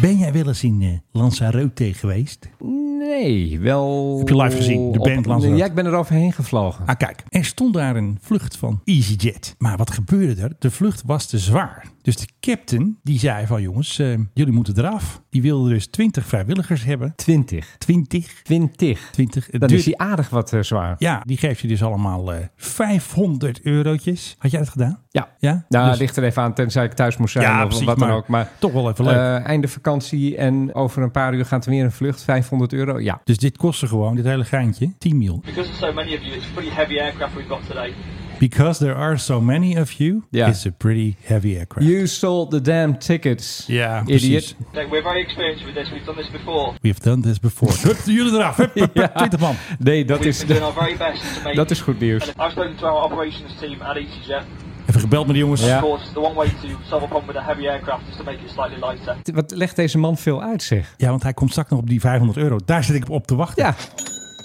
C: Ben jij wel eens in eh, Lanzarote geweest?
H: Nee, wel.
C: Heb je live gezien, de
H: op-
C: band Lanzarote?
H: Ja, ik ben er overheen gevlogen.
C: Ah, kijk, er stond daar een vlucht van EasyJet. Maar wat gebeurde er? De vlucht was te zwaar. Dus de captain die zei van jongens, eh, jullie moeten eraf. Die wilde dus 20 vrijwilligers hebben.
H: 20.
C: 20.
H: 20.
C: 20. Het
H: Dan
C: duurt-
H: is die aardig wat eh, zwaar.
C: Ja, die geeft je dus allemaal eh, 500 eurotjes. Had jij dat gedaan?
H: Ja.
C: Ja?
H: Nou,
C: Dus-
H: ligt er even aan, tenzij ik thuis moest zijn
C: Ja,
H: of
C: precies,
H: wat dan
C: maar
H: ook. Maar
C: toch wel even leuk.
H: eh, einde vakantie en over een paar uur gaat er weer een vlucht, 500 euro. Ja,
C: Dus dit kostte gewoon, dit hele geintje, 10 mil.
M: Because there's so many of you, it's a pretty heavy aircraft we've got today.
C: Because there are so many of you,
H: Ja.
C: it's a pretty heavy aircraft.
H: You stole the damn tickets.
C: Ja,
H: idiot.
C: precies.
M: So we're very experienced with this, we've done this before.
C: We have done this before. Hup, jullie eraf. Hup,
H: [LAUGHS]
C: hup, hup, 20 man.
H: Nee, dat
M: we've
H: is,
M: been doing our very best to make
H: [LAUGHS] dat is goed nieuws.
M: And I've spoken to our operations team at E EasyJet.
C: Even gebeld met die jongens.
M: Of course, the one way to solve a problem with a heavy aircraft is to make it slightly lighter.
H: Wat legt deze man veel uit, zeg.
C: Ja, want hij komt straks nog op die 500 euro. Daar zit ik op te wachten.
H: Ja.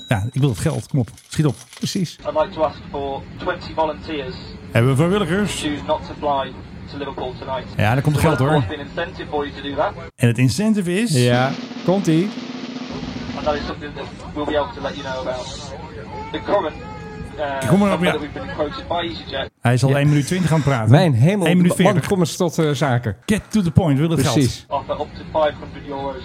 C: Ja, ik wil het geld. Kom op. Schiet op.
H: Precies.
M: I'd like to ask for 20 volunteers
C: Hebben we vrijwilligers?
M: choose not to fly to Liverpool tonight.
C: Ja, daar komt het geld,
M: There'll
C: hoor.
M: of course be an incentive for you to do that,
C: En het incentive is...
H: Ja, komt ie.
M: and that is something that we'll be able to let you know about. The current uh,
C: Ik kom erop,
M: number
C: ja.
M: that we've been quoted by EasyJet
C: Hij is al 1 minuut 20 aan het praten.
H: Mijn hemel,
C: 1 minuut
H: man,
C: 40.
H: kom eens tot eh, zaken.
C: Get to the point. We willen het
H: Precies.
C: geld.
M: offer up to 500 euros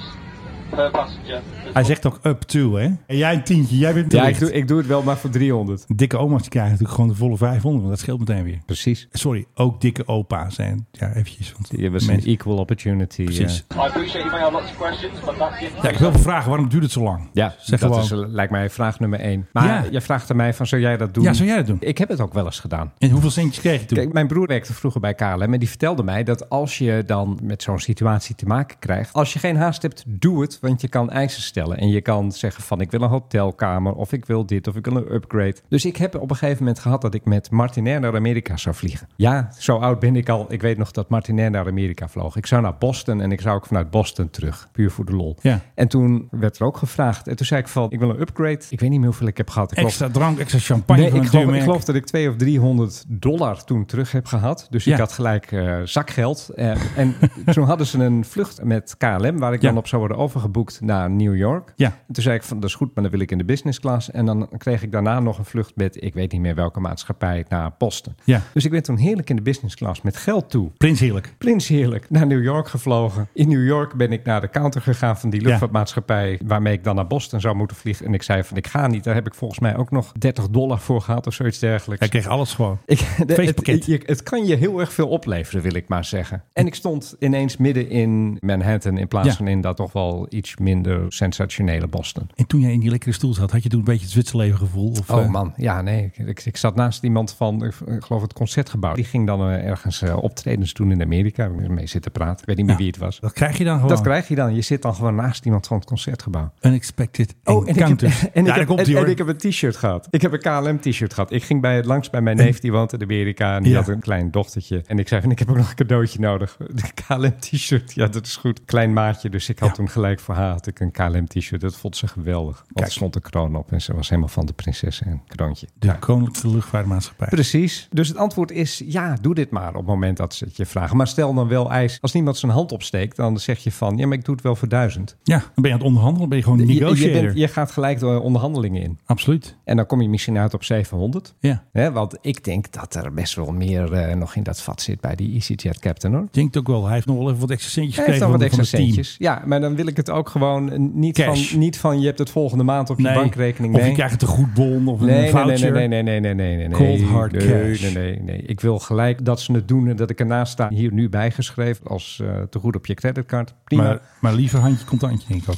M: per passenger.
C: Hij zegt ook up to, hè? En jij een tientje. Jij bent te
H: Ja, ik
C: licht.
H: doe, ik doe het wel maar voor 300.
C: Dikke oma's die krijgen natuurlijk gewoon de volle 500. Want dat scheelt meteen weer.
H: Precies.
C: Sorry, ook dikke opa's. En ja, eventjes. Want
H: Je was een
C: mensen-
H: equal opportunity.
C: Precies.
H: eh.
M: I appreciate you may have lots of questions, but that's it.
C: Ja, ik wil wel vragen. Waarom duurt het zo lang?
H: Ja,
C: Zeg
H: dat
C: gewoon.
H: is, eh, lijkt mij vraag nummer één. Maar
C: Ja.
H: je vraagt aan mij van, zou jij dat doen?
C: Ja, zou jij dat doen?
H: Ik heb het ook wel eens gedaan.
C: En hoeveel centjes kreeg je toen?
H: Kijk, mijn broer werkte vroeger bij KLM en die vertelde mij dat als je dan met zo'n situatie te maken krijgt, als je geen haast hebt, doe het, want je kan eisen stellen en je kan zeggen van ik wil een hotelkamer of ik wil dit of ik wil een upgrade. Dus ik heb op een gegeven moment gehad dat ik met Martin Air naar Amerika zou vliegen. Ja, zo oud ben ik al. Ik weet nog dat Martin Air naar Amerika vloog. Ik zou naar Boston en ik zou ook vanuit Boston terug, puur voor de lol.
C: Ja.
H: En toen werd er ook gevraagd en toen zei ik van ik wil een upgrade. Ik weet niet meer hoeveel ik heb gehad. Ik geloof-
C: Extra drank, extra champagne
H: Nee,
C: van
H: ik
C: een duur
H: geloof, ik
C: merk.
H: geloof dat ik 200 of 300 dollar toen terug heb gehad. Dus
C: Ja.
H: ik had gelijk eh, zakgeld. Eh,
C: [LAUGHS]
H: en toen hadden ze een vlucht met KLM, waar ik
C: Ja.
H: dan op zou worden overgeboekt naar New York.
C: Ja.
H: En toen zei ik van, dat is goed, maar dan wil ik in de business class. En dan kreeg ik daarna nog een vlucht met, ik weet niet meer welke maatschappij, naar Boston.
C: Ja.
H: Dus ik ben toen heerlijk in de business class met geld toe.
C: Prins Heerlijk.
H: Prins Heerlijk naar New York gevlogen. In New York ben ik naar de counter gegaan van die luchtvaartmaatschappij waarmee ik dan naar Boston zou moeten vliegen. En ik zei van ik ga niet. Daar heb ik volgens mij ook nog 30 dollar voor gehad of zoiets dergelijks.
C: Hij kreeg alles gewoon.
H: Ik, [LAUGHS] de-
C: Feestpakket.
H: Het, je- het kan je heel erg veel opleveren, wil ik maar zeggen. En ik stond ineens midden in Manhattan in plaats
C: Ja.
H: van in dat toch wel iets minder sensationele Boston.
C: En toen jij in die lekkere stoel zat, had je toen een beetje het Zwitserleven gevoel? Of,
H: Oh
C: eh,
H: man, ja nee. Ik, ik, ik zat naast iemand van, ik geloof het concertgebouw. Die ging dan eh, ergens eh, optredens doen in Amerika. Ik heb mee zitten praten. Ik weet niet meer
C: Ja.
H: wie het was.
C: Dat krijg je dan gewoon.
H: Dat krijg je dan. Je zit dan gewoon naast iemand van het concertgebouw.
C: Unexpected encounters.
H: Oh, en, dus-
C: ja,
H: ik,
C: daar
H: heb, [LAUGHS]
C: komt
H: en,
C: hij
H: en
C: hoor.
H: ik heb een t-shirt gehad. Ik heb een KLM-t-shirt gehad. Ik ging bij, langs bij mijn neef, die woont in Amerika. En die
C: Ja.
H: had een klein dochtertje. En ik zei van, ik heb ook nog een cadeautje nodig. [LAUGHS] Een KLM-t-shirt. Ja, dat is goed. Klein maatje. Dus ik had toen gelijk voor haar had ik een KLM-t-shirt. Dat vond ze geweldig. Want
C: Kijk.
H: er stond een kroon op. En ze was helemaal van de prinses en kroontje.
C: De Koninklijke Luchtvaartmaatschappij.
H: Precies. Dus het antwoord is ja, doe dit maar op het moment dat ze het je vragen. Maar stel dan wel eis. Als niemand zijn hand opsteekt, dan zeg je van ja, maar ik doe het wel voor duizend.
C: Ja, dan ben je aan het onderhandelen, ben je gewoon
H: Je,
C: negotiator.
H: je, bent- je gaat gelijk de onderhandelingen in.
C: Absoluut.
H: En dan kom je misschien uit op 700.
C: Ja.
H: Hè, want ik denk dat er best wel meer eh, nog in dat vat zit bij die E EasyJet captain hoor.
C: Ik denk het ook wel. Hij heeft nog wel even wat extra centjes
H: Hij heeft
C: gekregen
H: dan wat
C: van,
H: extra
C: van het team.
H: centjes. Ja, maar dan wil ik het ook gewoon eh, niet
C: Cash.
H: van, niet van je hebt het volgende maand op je
C: Nee.
H: bankrekening.
C: Of
H: Nee.
C: je krijgt een goedbon of een
H: Nee, nee, nee,
C: voucher.
H: nee, nee, nee, nee, nee, nee, nee.
C: Cold hard
H: nee,
C: cash.
H: Nee, nee, nee. Ik wil gelijk dat ze het doen en dat ik ernaast sta. Hier nu bijgeschreven als eh te goed op je creditcard. Prima.
C: Maar, maar liever handje contantje, denk ik ook.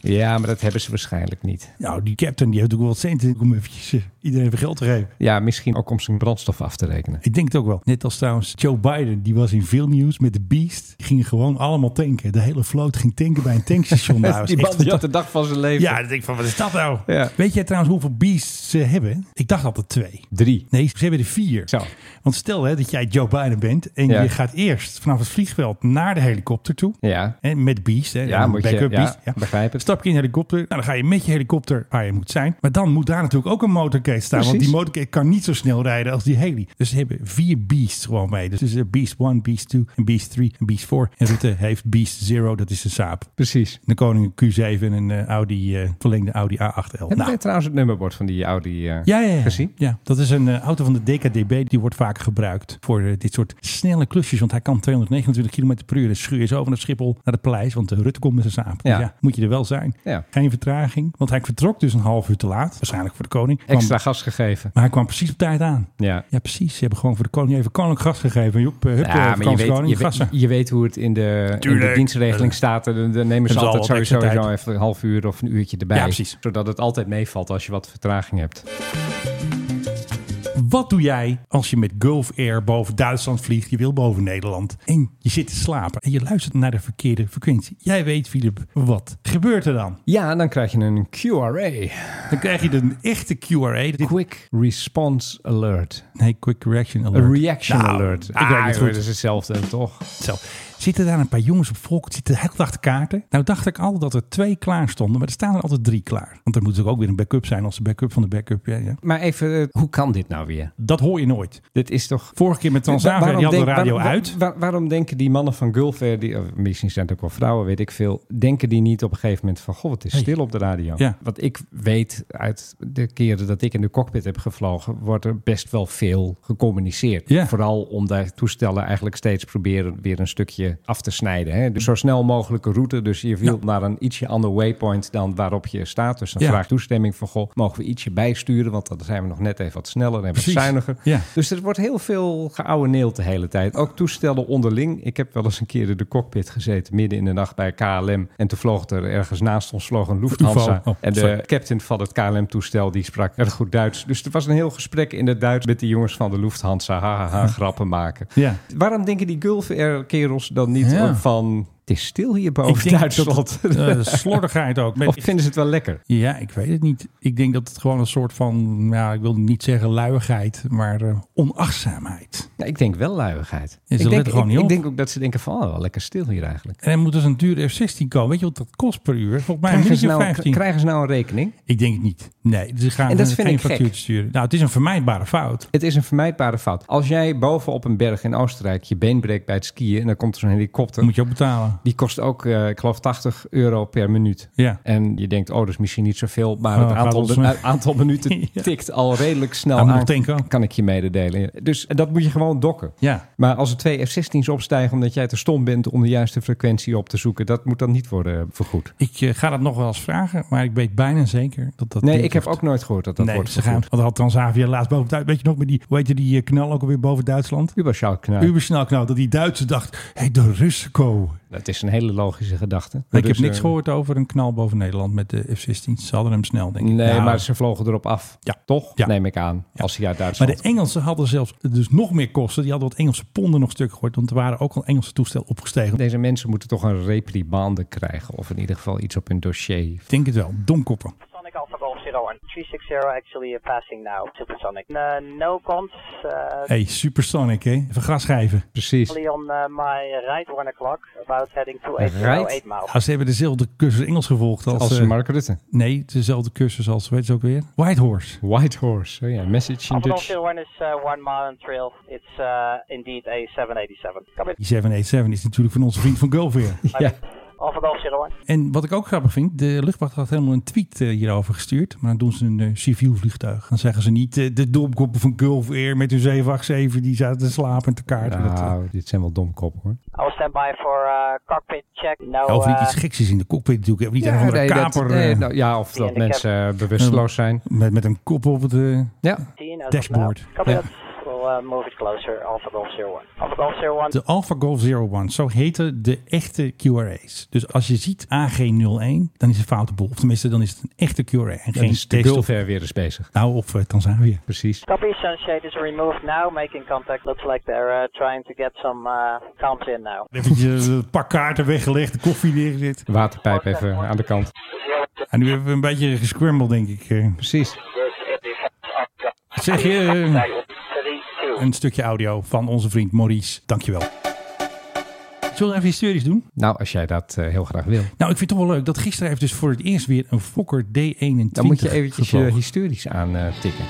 H: ja, maar dat hebben ze waarschijnlijk niet.
C: Nou, die captain die heeft ook wel wat centen om eventjes eh, iedereen even geld te geven.
H: Ja, misschien ook om zijn brandstof af te rekenen.
C: Ik denk het ook wel. Net als trouwens Joe Biden, die was in veel nieuws met de Beast. Die gingen gewoon allemaal tanken. De hele vloot ging tanken bij een
H: [LAUGHS]
C: tankstation. Nou, dat was
H: Die
C: echt
H: man die had de dag van zijn leven.
C: Ja, dan denk ik van, wat is dat nou?
H: Ja.
C: Weet jij trouwens hoeveel beasts ze hebben? Ik dacht altijd twee.
H: Drie.
C: Nee, ze hebben er vier.
H: Zo.
C: Want stel hè, dat jij Joe Biden bent en
H: Ja.
C: je gaat eerst vanaf het vliegveld naar de helikopter toe.
H: Ja.
C: Hè, met Beast, hè,
H: Ja,
C: een
H: moet je-
C: backup
H: ja,
C: Beast.
H: begrijp het.
C: Stap je in een helikopter, nou, dan ga je met je helikopter waar je moet zijn. Maar dan moet daar natuurlijk ook een motorcade staan, want
H: Precies.
C: die motorcade kan niet zo snel rijden als die heli. Dus ze hebben vier Beasts gewoon mee. Dus, dus eh, Beast 1, Beast 2, en Beast 3, en Beast 4. En Rutte heeft Beast 0, dat is de saap.
H: Precies.
C: de koning een Q7 en een eh, Audi, eh, verlengde Audi A8L.
H: Hebben
C: Nou.
H: wij trouwens het nummerbord van die Audi eh,
C: Ja, ja, ja.
H: gezien?
C: ja, dat is een eh, auto van de DKDB. Die wordt vaak gebruikt voor eh, dit soort snelle klusjes. Want hij kan 229 km per uur. Dus schuur je zo van het Schiphol naar het paleis. Want de Rutte komt met zijn saap. Dus
H: Ja.
C: ja, moet je er wel zijn.
H: Ja.
C: Geen vertraging. Want hij vertrok dus een half uur te laat. Waarschijnlijk voor de koning. Kwam-
H: Extra gas gegeven.
C: Maar hij kwam precies op tijd aan.
H: Ja.
C: Ja, precies. Ze hebben gewoon voor de koning even koninklijk gas gegeven. Joep, eh, hup, eh,
H: Ja, maar je weet,
C: vakantiekoning,
H: je, weet,
C: gassen.
H: je weet hoe het in de, in de
C: Tuurlijk.
H: dienstregeling staat. Dan, dan nemen ze
C: Hebben ze
H: altijd
C: al wat
H: sowieso
C: extra
H: zo
C: tijd.
H: even een half uur of een uurtje erbij.
C: Ja, precies.
H: Zodat het altijd meevalt als je wat vertraging hebt.
C: Wat doe jij als je met Gulf Air boven Duitsland vliegt? Je wil boven Nederland en je zit te slapen en je luistert naar de verkeerde frequentie. Jij weet, Filip, wat gebeurt er dan?
H: Ja, dan krijg je een QRA.
C: Dan krijg je een echte QRA.
H: Quick Response Alert.
C: Nee, Quick Reaction Alert.
H: Een reaction
C: Nou,
H: alert.
C: Ik weet het
H: joh,
C: goed.
H: Dat is hetzelfde, toch?
C: Zo. Zitten daar een paar jongens op volk? Zitten de hele dag te kaarten? Nou dacht ik altijd dat er twee klaar stonden, maar er staan er altijd drie klaar. Want er moet natuurlijk ook weer een backup zijn als de backup van de backup. Ja, ja.
H: Maar even, eh, hoe kan dit nou weer?
C: Dat hoor je nooit.
H: Dit is toch...
C: Vorige keer met Transavia, die hadden de radio
H: waar- waar-
C: uit.
H: waar- waarom denken die mannen van Gulf Air, die, of misschien zijn het ook wel vrouwen, weet ik veel, denken die niet op een gegeven moment van, goh, het is
C: Hey.
H: stil op de radio.
C: Ja.
H: Wat ik weet uit de keren dat ik in de cockpit heb gevlogen, wordt er best wel veel gecommuniceerd.
C: Ja.
H: Vooral omdat toestellen eigenlijk steeds proberen weer een stukje af te snijden. Hè? Dus zo snel mogelijke route, dus je wilt naar een ietsje ander waypoint dan waarop je staat. Dus dan
C: Ja.
H: vraagt toestemming van, goh, mogen we ietsje bijsturen, want dan zijn we nog net even wat sneller en wat
C: Precies.
H: zuiniger.
C: Ja.
H: Dus er wordt heel veel geouweneel de hele tijd. Ook toestellen onderling. Ik heb wel eens een keer in de cockpit gezeten, midden in de nacht bij KLM. En toen vloog er ergens naast ons vloog een Lufthansa.
C: UFO. Oh,
H: en de
C: sorry.
H: captain van het KLM-toestel, die sprak erg goed Duits. Dus er was een heel gesprek in het Duits met die jongens van de Lufthansa. Ha, ha, ha, grappen maken.
C: Ja.
H: Waarom denken die Gulf Air kerels dan niet
C: Ja.
H: ook van... Het is stil hier
C: Ik
H: boven
C: denk
H: Duitsland.
C: dat
H: [LAUGHS]
C: het, eh, slordigheid ook.
H: Of vinden ze het wel lekker?
C: Ja, ik weet het niet. Ik denk dat het gewoon een soort van, ja, ik wil niet zeggen luiigheid, maar eh, onachtzaamheid.
H: Ja, ik denk wel luiigheid.
C: Ja, ze
H: ik denk,
C: letten gewoon
H: ik,
C: niet
H: ik
C: op.
H: denk ook dat ze denken van, oh, wel lekker stil hier eigenlijk.
C: En er moet dus een dure F-16 komen. Weet je wat dat kost per uur? Volgens mij een
H: Krijgen ze,
C: minuutje
H: nou,
C: 15.
H: krijgen ze nou een rekening?
C: Ik denk het niet. Nee, ze gaan
H: En dat
C: eh,
H: vind
C: geen
H: ik gek.
C: factuurtje sturen. Nou, het is een vermijdbare fout.
H: Het is een vermijdbare fout. Als jij boven op een berg in Oostenrijk je been breekt bij het skiën... en dan komt er zo'n helikopter...
C: moet je ook betalen.
H: Die kost ook, eh, ik geloof, 80 euro per minuut.
C: Ja.
H: En je denkt, oh, dat is misschien niet zoveel. Maar
C: Oh,
H: het
C: gaat
H: aantal,
C: ons
H: het
C: maar.
H: aantal minuten
C: [LAUGHS] Ja.
H: tikt al redelijk snel
C: Gaan we nog
H: aan.
C: tanken?
H: Kan ik je mededelen. Dus dat moet je gewoon dokken.
C: Ja.
H: Maar als er twee F-16's opstijgen omdat jij te stom bent... om de juiste frequentie op te zoeken... dat moet dan niet worden vergoed.
C: Ik eh, ga dat nog wel eens vragen, maar ik weet bijna zeker dat dat
H: nee,
C: niet
H: ik heb
C: hoeft.
H: ook nooit gehoord dat dat
C: nee,
H: wordt
C: ze gaan.
H: vergoed.
C: Want dan had Transavia laatst boven Duitsland. Weet je nog, met die, hoe heette die eh, knal ook alweer boven Duitsland?
H: Uberschalknaar.
C: Ubersnel knal. Dat die Duitsers dacht, hé, hey, de Russen komen.
H: Dat is een hele logische gedachte.
C: Nee, ik
H: Dus,
C: heb niks
H: eh,
C: gehoord over een knal boven Nederland met de F-16. Ze hadden hem snel, denk ik.
H: Nee,
C: Nou,
H: maar ze vlogen erop af.
C: Ja.
H: Toch?
C: Ja.
H: Neem ik aan. Als hij uit
C: maar
H: Duitsland...
C: de Engelsen hadden zelfs dus nog meer kosten. Die hadden wat Engelse ponden nog stuk gegooid. Want er waren ook al Engelse toestellen opgestegen.
H: Deze mensen moeten toch een reprimande krijgen. Of in ieder geval iets op hun dossier.
C: Ik denk het wel. Domkoppen.
N: Sonic Alpha Golf Zero and 360 actually uh, passing now. Supersonic. Uh, no comms. Uh,
C: hey, supersonic, hè? Even gas geven.
H: Precies.
N: only on uh, my right one o'clock about heading to
H: Right?
N: 808 miles.
C: Ja, ze hebben dezelfde cursus Engels gevolgd als...
H: Als
C: eh,
H: Mark Rutte.
C: nee, dezelfde cursus als, weet je ook weer? Whitehorse.
H: Whitehorse. Oh ja, message in
N: Alpha Golf
H: Dutch.
N: Zero One is uh, one mile and trail. It's uh, indeed a 787. Copy.
C: Die 787 is natuurlijk van onze vriend van Gulf weer.
N: Alpha Golf Zero One.
C: En wat ik ook grappig vind, de luchtmacht had helemaal een tweet eh, hierover gestuurd. Maar dan doen ze een eh, civiel vliegtuig. Dan zeggen ze niet eh, de domkoppen van Gulf Air met hun 787. Die zaten te slapen en te kaarten. Dat, eh,
H: Nou, dit zijn wel domkoppen hoor.
N: I will stand by for uh, cockpit check. No.
C: ja, eh, of niet
N: uh,
C: iets geks is in de cockpit natuurlijk. Of niet een of andere
H: nee, dat-
C: kaper
H: nee,
C: eh,
H: nou, ja, of
N: die in
H: dat
N: de
H: mensen eh, bewusteloos zijn.
C: met, met een kop op het... eh,
H: Ja.
N: 15 as of
C: dashboard.
N: now. Copy
C: Ja.
N: that. We'll uh, move it closer. Alpha Golf Zero One. Alpha Golf Zero One.
C: De Alpha Golf Zero One, zo heten de echte QRA's. Dus als je ziet AG01, dan is het foute boel. Of tenminste, dan is het een echte QRA en
H: Dan
C: geen
H: is dus de
C: test of-
H: Gulfair weer eens bezig.
C: Nou, of eh, Tanzania.
H: Precies.
N: Copy, sunshade is removed now, making contact. Looks like they're uh, trying to get some uh, comms in now.
C: Even een paar kaarten weggelegd, de koffie neergezet.
H: De waterpijp even aan de kant.
C: En nu hebben we een beetje gescrambled, denk ik. eh.
H: Precies.
C: Zeg je eh, een stukje audio van onze vriend Maurice. Dankjewel. Zullen we even historisch doen?
H: Nou, als jij dat eh, heel graag wil.
C: Nou, ik vind het toch wel leuk dat gisteren heeft dus voor het eerst weer een Fokker D21
H: Dan moet je eh, eventjes eh,
C: gevlogen.
H: historisch aantikken.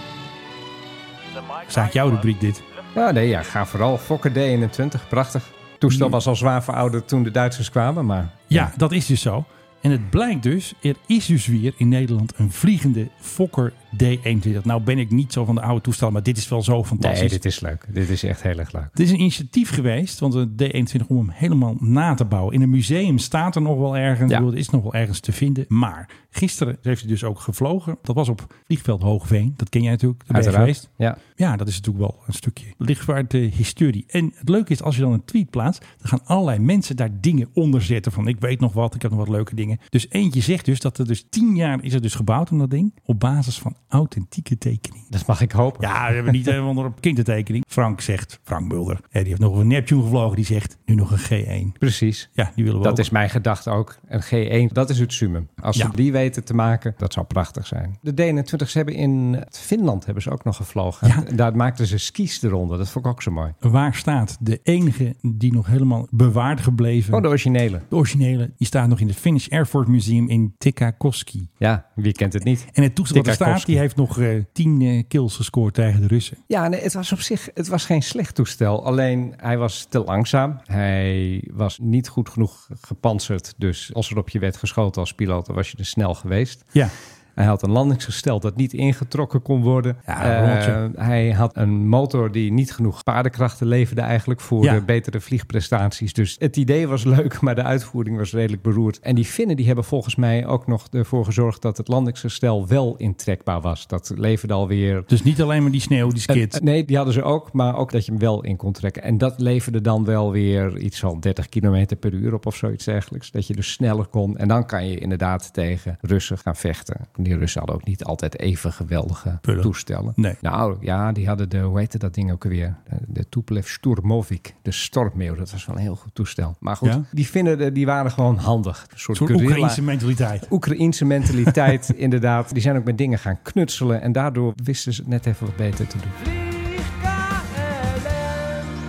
C: Staat jouw rubriek dit.
H: Ja, nee, ja, ga vooral. Fokker Mm. D21, prachtig. Het toestel was al zwaar verouderd toen de Duitsers kwamen, maar
C: Ja, dat is dus zo. En het blijkt dus, er is dus weer in Nederland een vliegende Fokker D21. Nou ben ik niet zo van de oude toestel, maar dit is wel zo fantastisch.
H: Nee, dit is leuk. Dit is echt heel erg leuk.
C: Het is een initiatief geweest, want de D21 om hem helemaal na te bouwen. In een museum staat er nog wel ergens. Ja. Er is nog wel ergens te vinden. Maar gisteren heeft hij dus ook gevlogen. Dat was op vliegveld Hoogveen. Dat ken jij natuurlijk. Daar ben je geweest.
H: Ja.
C: ja, dat is natuurlijk wel een stukje lichtvaart uh, historie. En het leuke is, als je dan een tweet plaatst, dan gaan allerlei mensen daar dingen onder zetten. Van ik weet nog wat, ik heb nog wat leuke dingen. Dus eentje zegt dus dat er dus tien jaar is het dus gebouwd om dat ding. Op basis van authentieke tekening.
H: Dat mag ik hopen.
C: Ja, we hebben niet helemaal op kindertekening. Frank zegt, Frank Mulder, die heeft nog een Neptune gevlogen. Die zegt, nu nog een G1.
H: Precies.
C: Ja, die willen we
H: Dat
C: ook.
H: is mijn gedachte ook. Een G1, dat is het summum. Als ja. ze die weten te maken, dat zou prachtig zijn. De D21's hebben in Finland hebben ze ook nog gevlogen. Ja. Daar maakten ze skis eronder. Dat vond ik ook zo mooi.
C: Waar staat de enige die nog helemaal bewaard gebleven?
H: Oh, de originele.
C: De originele. Die staat nog in het Finnish Air Force Museum in Tikkakoski.
H: Ja, wie kent het niet?
C: En het toestel wat er staat, die heeft nog uh, tien uh, kills gescoord tegen de Russen.
H: Ja, nee, het was op zich het was geen slecht toestel. Alleen hij was te langzaam. Hij was niet goed genoeg gepantserd. Dus als er op je werd geschoten als piloot, dan was je er snel geweest.
C: Ja.
H: Hij had een landingsgestel dat niet ingetrokken kon worden. Ja, uh, hij had een motor die niet genoeg paardenkrachten leverde eigenlijk voor ja. betere vliegprestaties. Dus het idee was leuk, [LAUGHS] maar de uitvoering was redelijk beroerd. En die Finnen die hebben volgens mij ook nog ervoor gezorgd dat het landingsgestel wel intrekbaar was. Dat leverde alweer...
C: Dus niet alleen maar die sneeuw, die skit.
H: Uh, uh, nee, die hadden ze ook, maar ook dat je hem wel in kon trekken. En dat leverde dan wel weer iets van 30 km per uur op of zoiets dergelijks. Dat je dus sneller kon. En dan kan je inderdaad tegen Russen gaan vechten die Russen hadden ook niet altijd even geweldige Pullen. toestellen.
C: Nee.
H: Nou ja, die hadden de, hoe heette dat ding ook weer? De, de Tupolev Sturmovik, de stormmeeuw. Dat was wel een heel goed toestel. Maar goed, ja? die vinden, die waren gewoon handig.
C: Een soort, Oekraïense Oekraïnse mentaliteit.
H: Oekraïnse mentaliteit, [LAUGHS] inderdaad. Die zijn ook met dingen gaan knutselen en daardoor wisten ze net even wat beter te doen.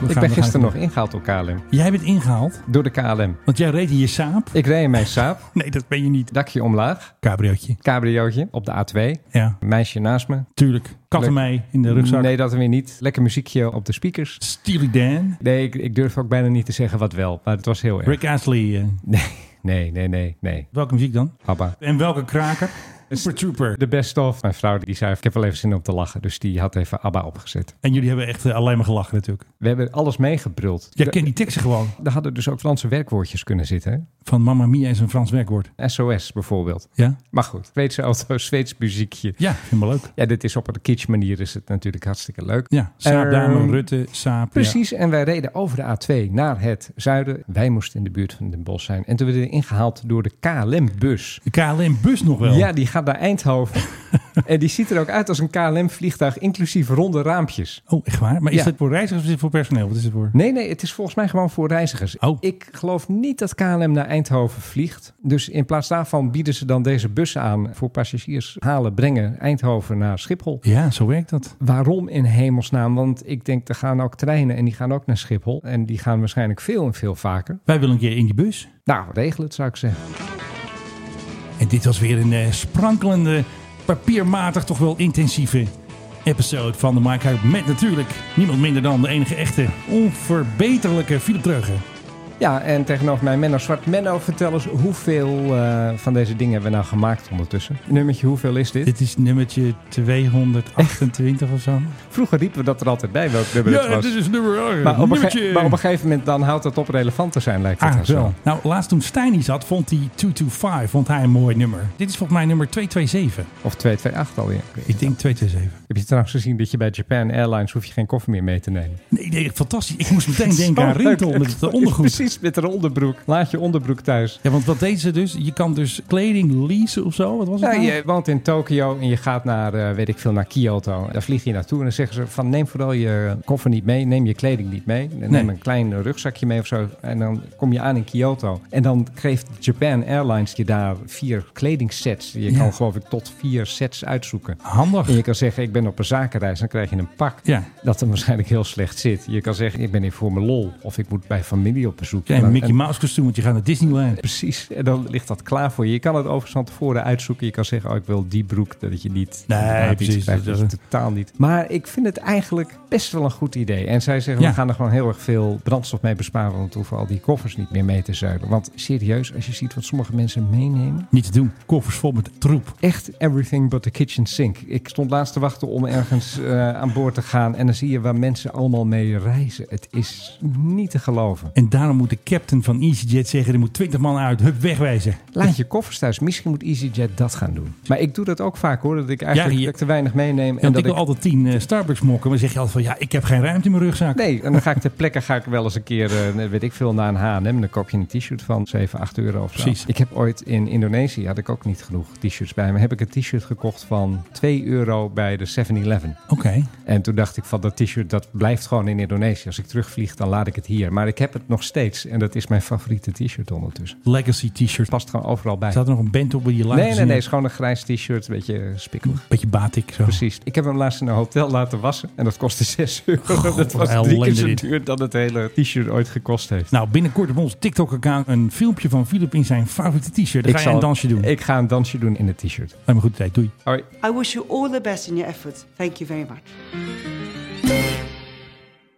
H: We ik ben gisteren nog ingehaald door KLM.
C: Jij bent ingehaald?
H: Door de KLM.
C: Want jij reed in je saap?
H: Ik reed in mijn saap.
C: nee, dat ben je niet.
H: Dakje omlaag.
C: Cabriootje.
H: Cabriootje op de A2.
C: Ja.
H: Meisje naast me.
C: Tuurlijk. Katten mee in de rugzak.
H: Nee, dat weer niet. Lekker muziekje op de speakers.
C: Steely Dan.
H: Nee, ik, ik, durf ook bijna niet te zeggen wat wel. Maar het was heel erg.
C: Rick Astley. Uh...
H: Nee, nee, nee, nee, nee.
C: Welke muziek dan?
H: Papa.
C: En welke kraker? [LAUGHS] Super Trooper.
H: De best of. Mijn vrouw die zei, ik heb wel even zin om te lachen. Dus die had even ABBA opgezet.
C: En jullie hebben echt uh, alleen maar gelachen natuurlijk.
H: We hebben alles meegebruld.
C: Jij kent die teksten gewoon.
H: Daar hadden dus ook Franse werkwoordjes kunnen zitten. Hè?
C: Van Mamma Mia is een Frans werkwoord.
H: SOS bijvoorbeeld.
C: Ja.
H: Maar goed, Zweedse auto, Zweeds muziekje.
C: Ja, helemaal leuk.
H: Ja, dit is op een kitsch manier is het natuurlijk hartstikke leuk.
C: Ja, Saap, um, Rutte, Saap.
H: Precies,
C: ja.
H: en wij reden over de A2 naar het zuiden. Wij moesten in de buurt van Den Bosch zijn. En toen werden we ingehaald door de KLM-bus.
C: De KLM-bus nog wel?
H: Ja, die gaat naar
C: [LAUGHS]
H: Eindhoven. en die ziet er ook uit als een KLM-vliegtuig, inclusief ronde raampjes.
C: Oh, echt waar? Maar is ja. dit voor reizigers of is het voor personeel? Wat is het voor?
H: Nee, nee, het is volgens mij gewoon voor reizigers.
C: Oh.
H: Ik geloof niet dat KLM naar Eindhoven vliegt. Dus in plaats daarvan bieden ze dan deze bussen aan voor passagiers halen, brengen Eindhoven naar Schiphol.
C: Ja, zo werkt dat.
H: Waarom in hemelsnaam? Want ik denk, er gaan ook treinen en die gaan ook naar Schiphol. En die gaan waarschijnlijk veel en veel vaker.
C: Wij willen een keer in die bus.
H: Nou, regel het zou ik zeggen.
C: En dit was weer een uh, sprankelende, papiermatig toch wel intensieve episode van de Mike Met natuurlijk niemand minder dan de enige echte, onverbeterlijke Philip Dreugen.
H: Ja, en tegenover mij Menno Zwart. Menno, vertel eens hoeveel uh, van deze dingen hebben we nou gemaakt ondertussen? Nummertje, hoeveel is dit?
C: Dit is nummertje 228 of zo.
H: Vroeger riepen we dat er altijd bij, welk nummer
C: ja,
H: het was.
C: dit is nummer... eh,
H: Maar op, maar op, een gegeven moment dan houdt het op relevant te zijn, lijkt het
C: ah, wel. Nou, laatst toen Stijn hier zat, vond hij 225 vond hij een mooi nummer. Dit is volgens mij nummer 227.
H: Of 228 alweer.
C: Ik denk 227.
H: Heb je trouwens gezien dat je bij Japan Airlines hoef je geen koffer meer mee te nemen?
C: Nee, nee fantastisch. Ik moest
H: [LAUGHS]
C: meteen denken aan Rintel met de ondergoed
H: met een onderbroek. Laat je onderbroek thuis.
C: Ja, want wat deed ze dus? Je kan dus kleding leasen of zo? Wat was het
H: ja,
C: nou?
H: je woont in Tokio en je gaat naar, uh, weet ik veel, naar Kyoto. Daar vlieg je naartoe en dan zeggen ze van neem vooral je koffer niet mee. Neem je kleding niet mee. Neem nee. een klein rugzakje mee of zo. En dan kom je aan in Kyoto. En dan geeft Japan Airlines je daar vier kledingsets. Je ja. kan geloof ik tot vier sets uitzoeken.
C: Handig.
H: En je kan zeggen ik ben op een zakenreis. Dan krijg je een pak
C: ja.
H: dat er waarschijnlijk heel slecht zit. Je kan zeggen ik ben hier voor mijn lol. Of ik moet bij familie op bezoek. zoekt.
C: Ja,
H: Dan-
C: een Mickey
H: en-
C: Mouse kostuum, je gaat naar Disneyland.
H: Precies, en dan ligt dat klaar voor je. Je kan het overigens van tevoren uitzoeken. Je kan zeggen, oh, ik wil die broek, dat je niet...
C: Nee,
H: inderdaad iets
C: precies.
H: krijgt
C: Dat-
H: wat je totaal niet. Maar ik vind het eigenlijk best wel een goed idee. En zij zeggen,
C: Ja.
H: we gaan er gewoon heel erg veel brandstof mee besparen... want we hoeven al die koffers niet meer mee te zuilen. Want serieus, als je ziet wat sommige mensen meenemen...
C: Niet te doen. Koffers vol met troep.
H: Echt everything but the kitchen sink. Ik stond laatst te wachten om ergens eh, aan boord te gaan... en dan zie je waar mensen allemaal mee reizen. Het is niet te geloven.
C: En daarom moet de captain van EasyJet zeggen, er moet 20 man uit. Hup, wegwijzen.
H: Laat je koffers thuis. Misschien moet EasyJet dat gaan doen. Maar ik doe dat ook vaak hoor. Dat ik eigenlijk
C: Ja, je-
H: dat ik te weinig meeneem.
C: Ja, want
H: dat
C: ik wil altijd 10 eh, Starbucks mokken. Maar zeg je altijd van, ja, ik heb geen ruimte in mijn rugzak.
H: Nee, en dan ga ik ter plekke ga ik wel eens een keer, eh, weet ik veel, naar een H&M. Dan koop je een t-shirt van 7, 8 euro of zo.
C: Precies.
H: Ik heb ooit in Indonesië, had ik ook niet genoeg t-shirts bij me. Heb ik een t-shirt gekocht van 2 euro bij de 7-Eleven.
C: Oké.
H: En toen dacht ik van dat t-shirt, dat blijft gewoon in Indonesië. Als ik terugvlieg, dan laat ik het hier. Maar ik heb het nog steeds. En dat is mijn favoriete t-shirt ondertussen.
C: Legacy t-shirt.
H: Past gewoon overal bij.
C: Staat er nog een band op bij je
H: Nee,
C: laatste
H: nee, nee. Het is gewoon een grijs t-shirt. Een beetje spikkelig.
C: Beetje batik zo.
H: Precies. Ik heb hem laatst in een hotel laten wassen. En dat kostte 6 euro. [LAUGHS] dat was drie
C: ellende
H: keer zo
C: dit.
H: duur dan het hele t-shirt ooit gekost heeft.
C: Nou, binnenkort op ons TikTok-account een filmpje van Philip in zijn favoriete t-shirt. Dan ga je een dansje doen.
H: Ik ga een dansje doen in het t-shirt.
C: Lijkt me goed idee. Doei.
H: Hoi.
A: I wish you all the best in your efforts. Thank you very much.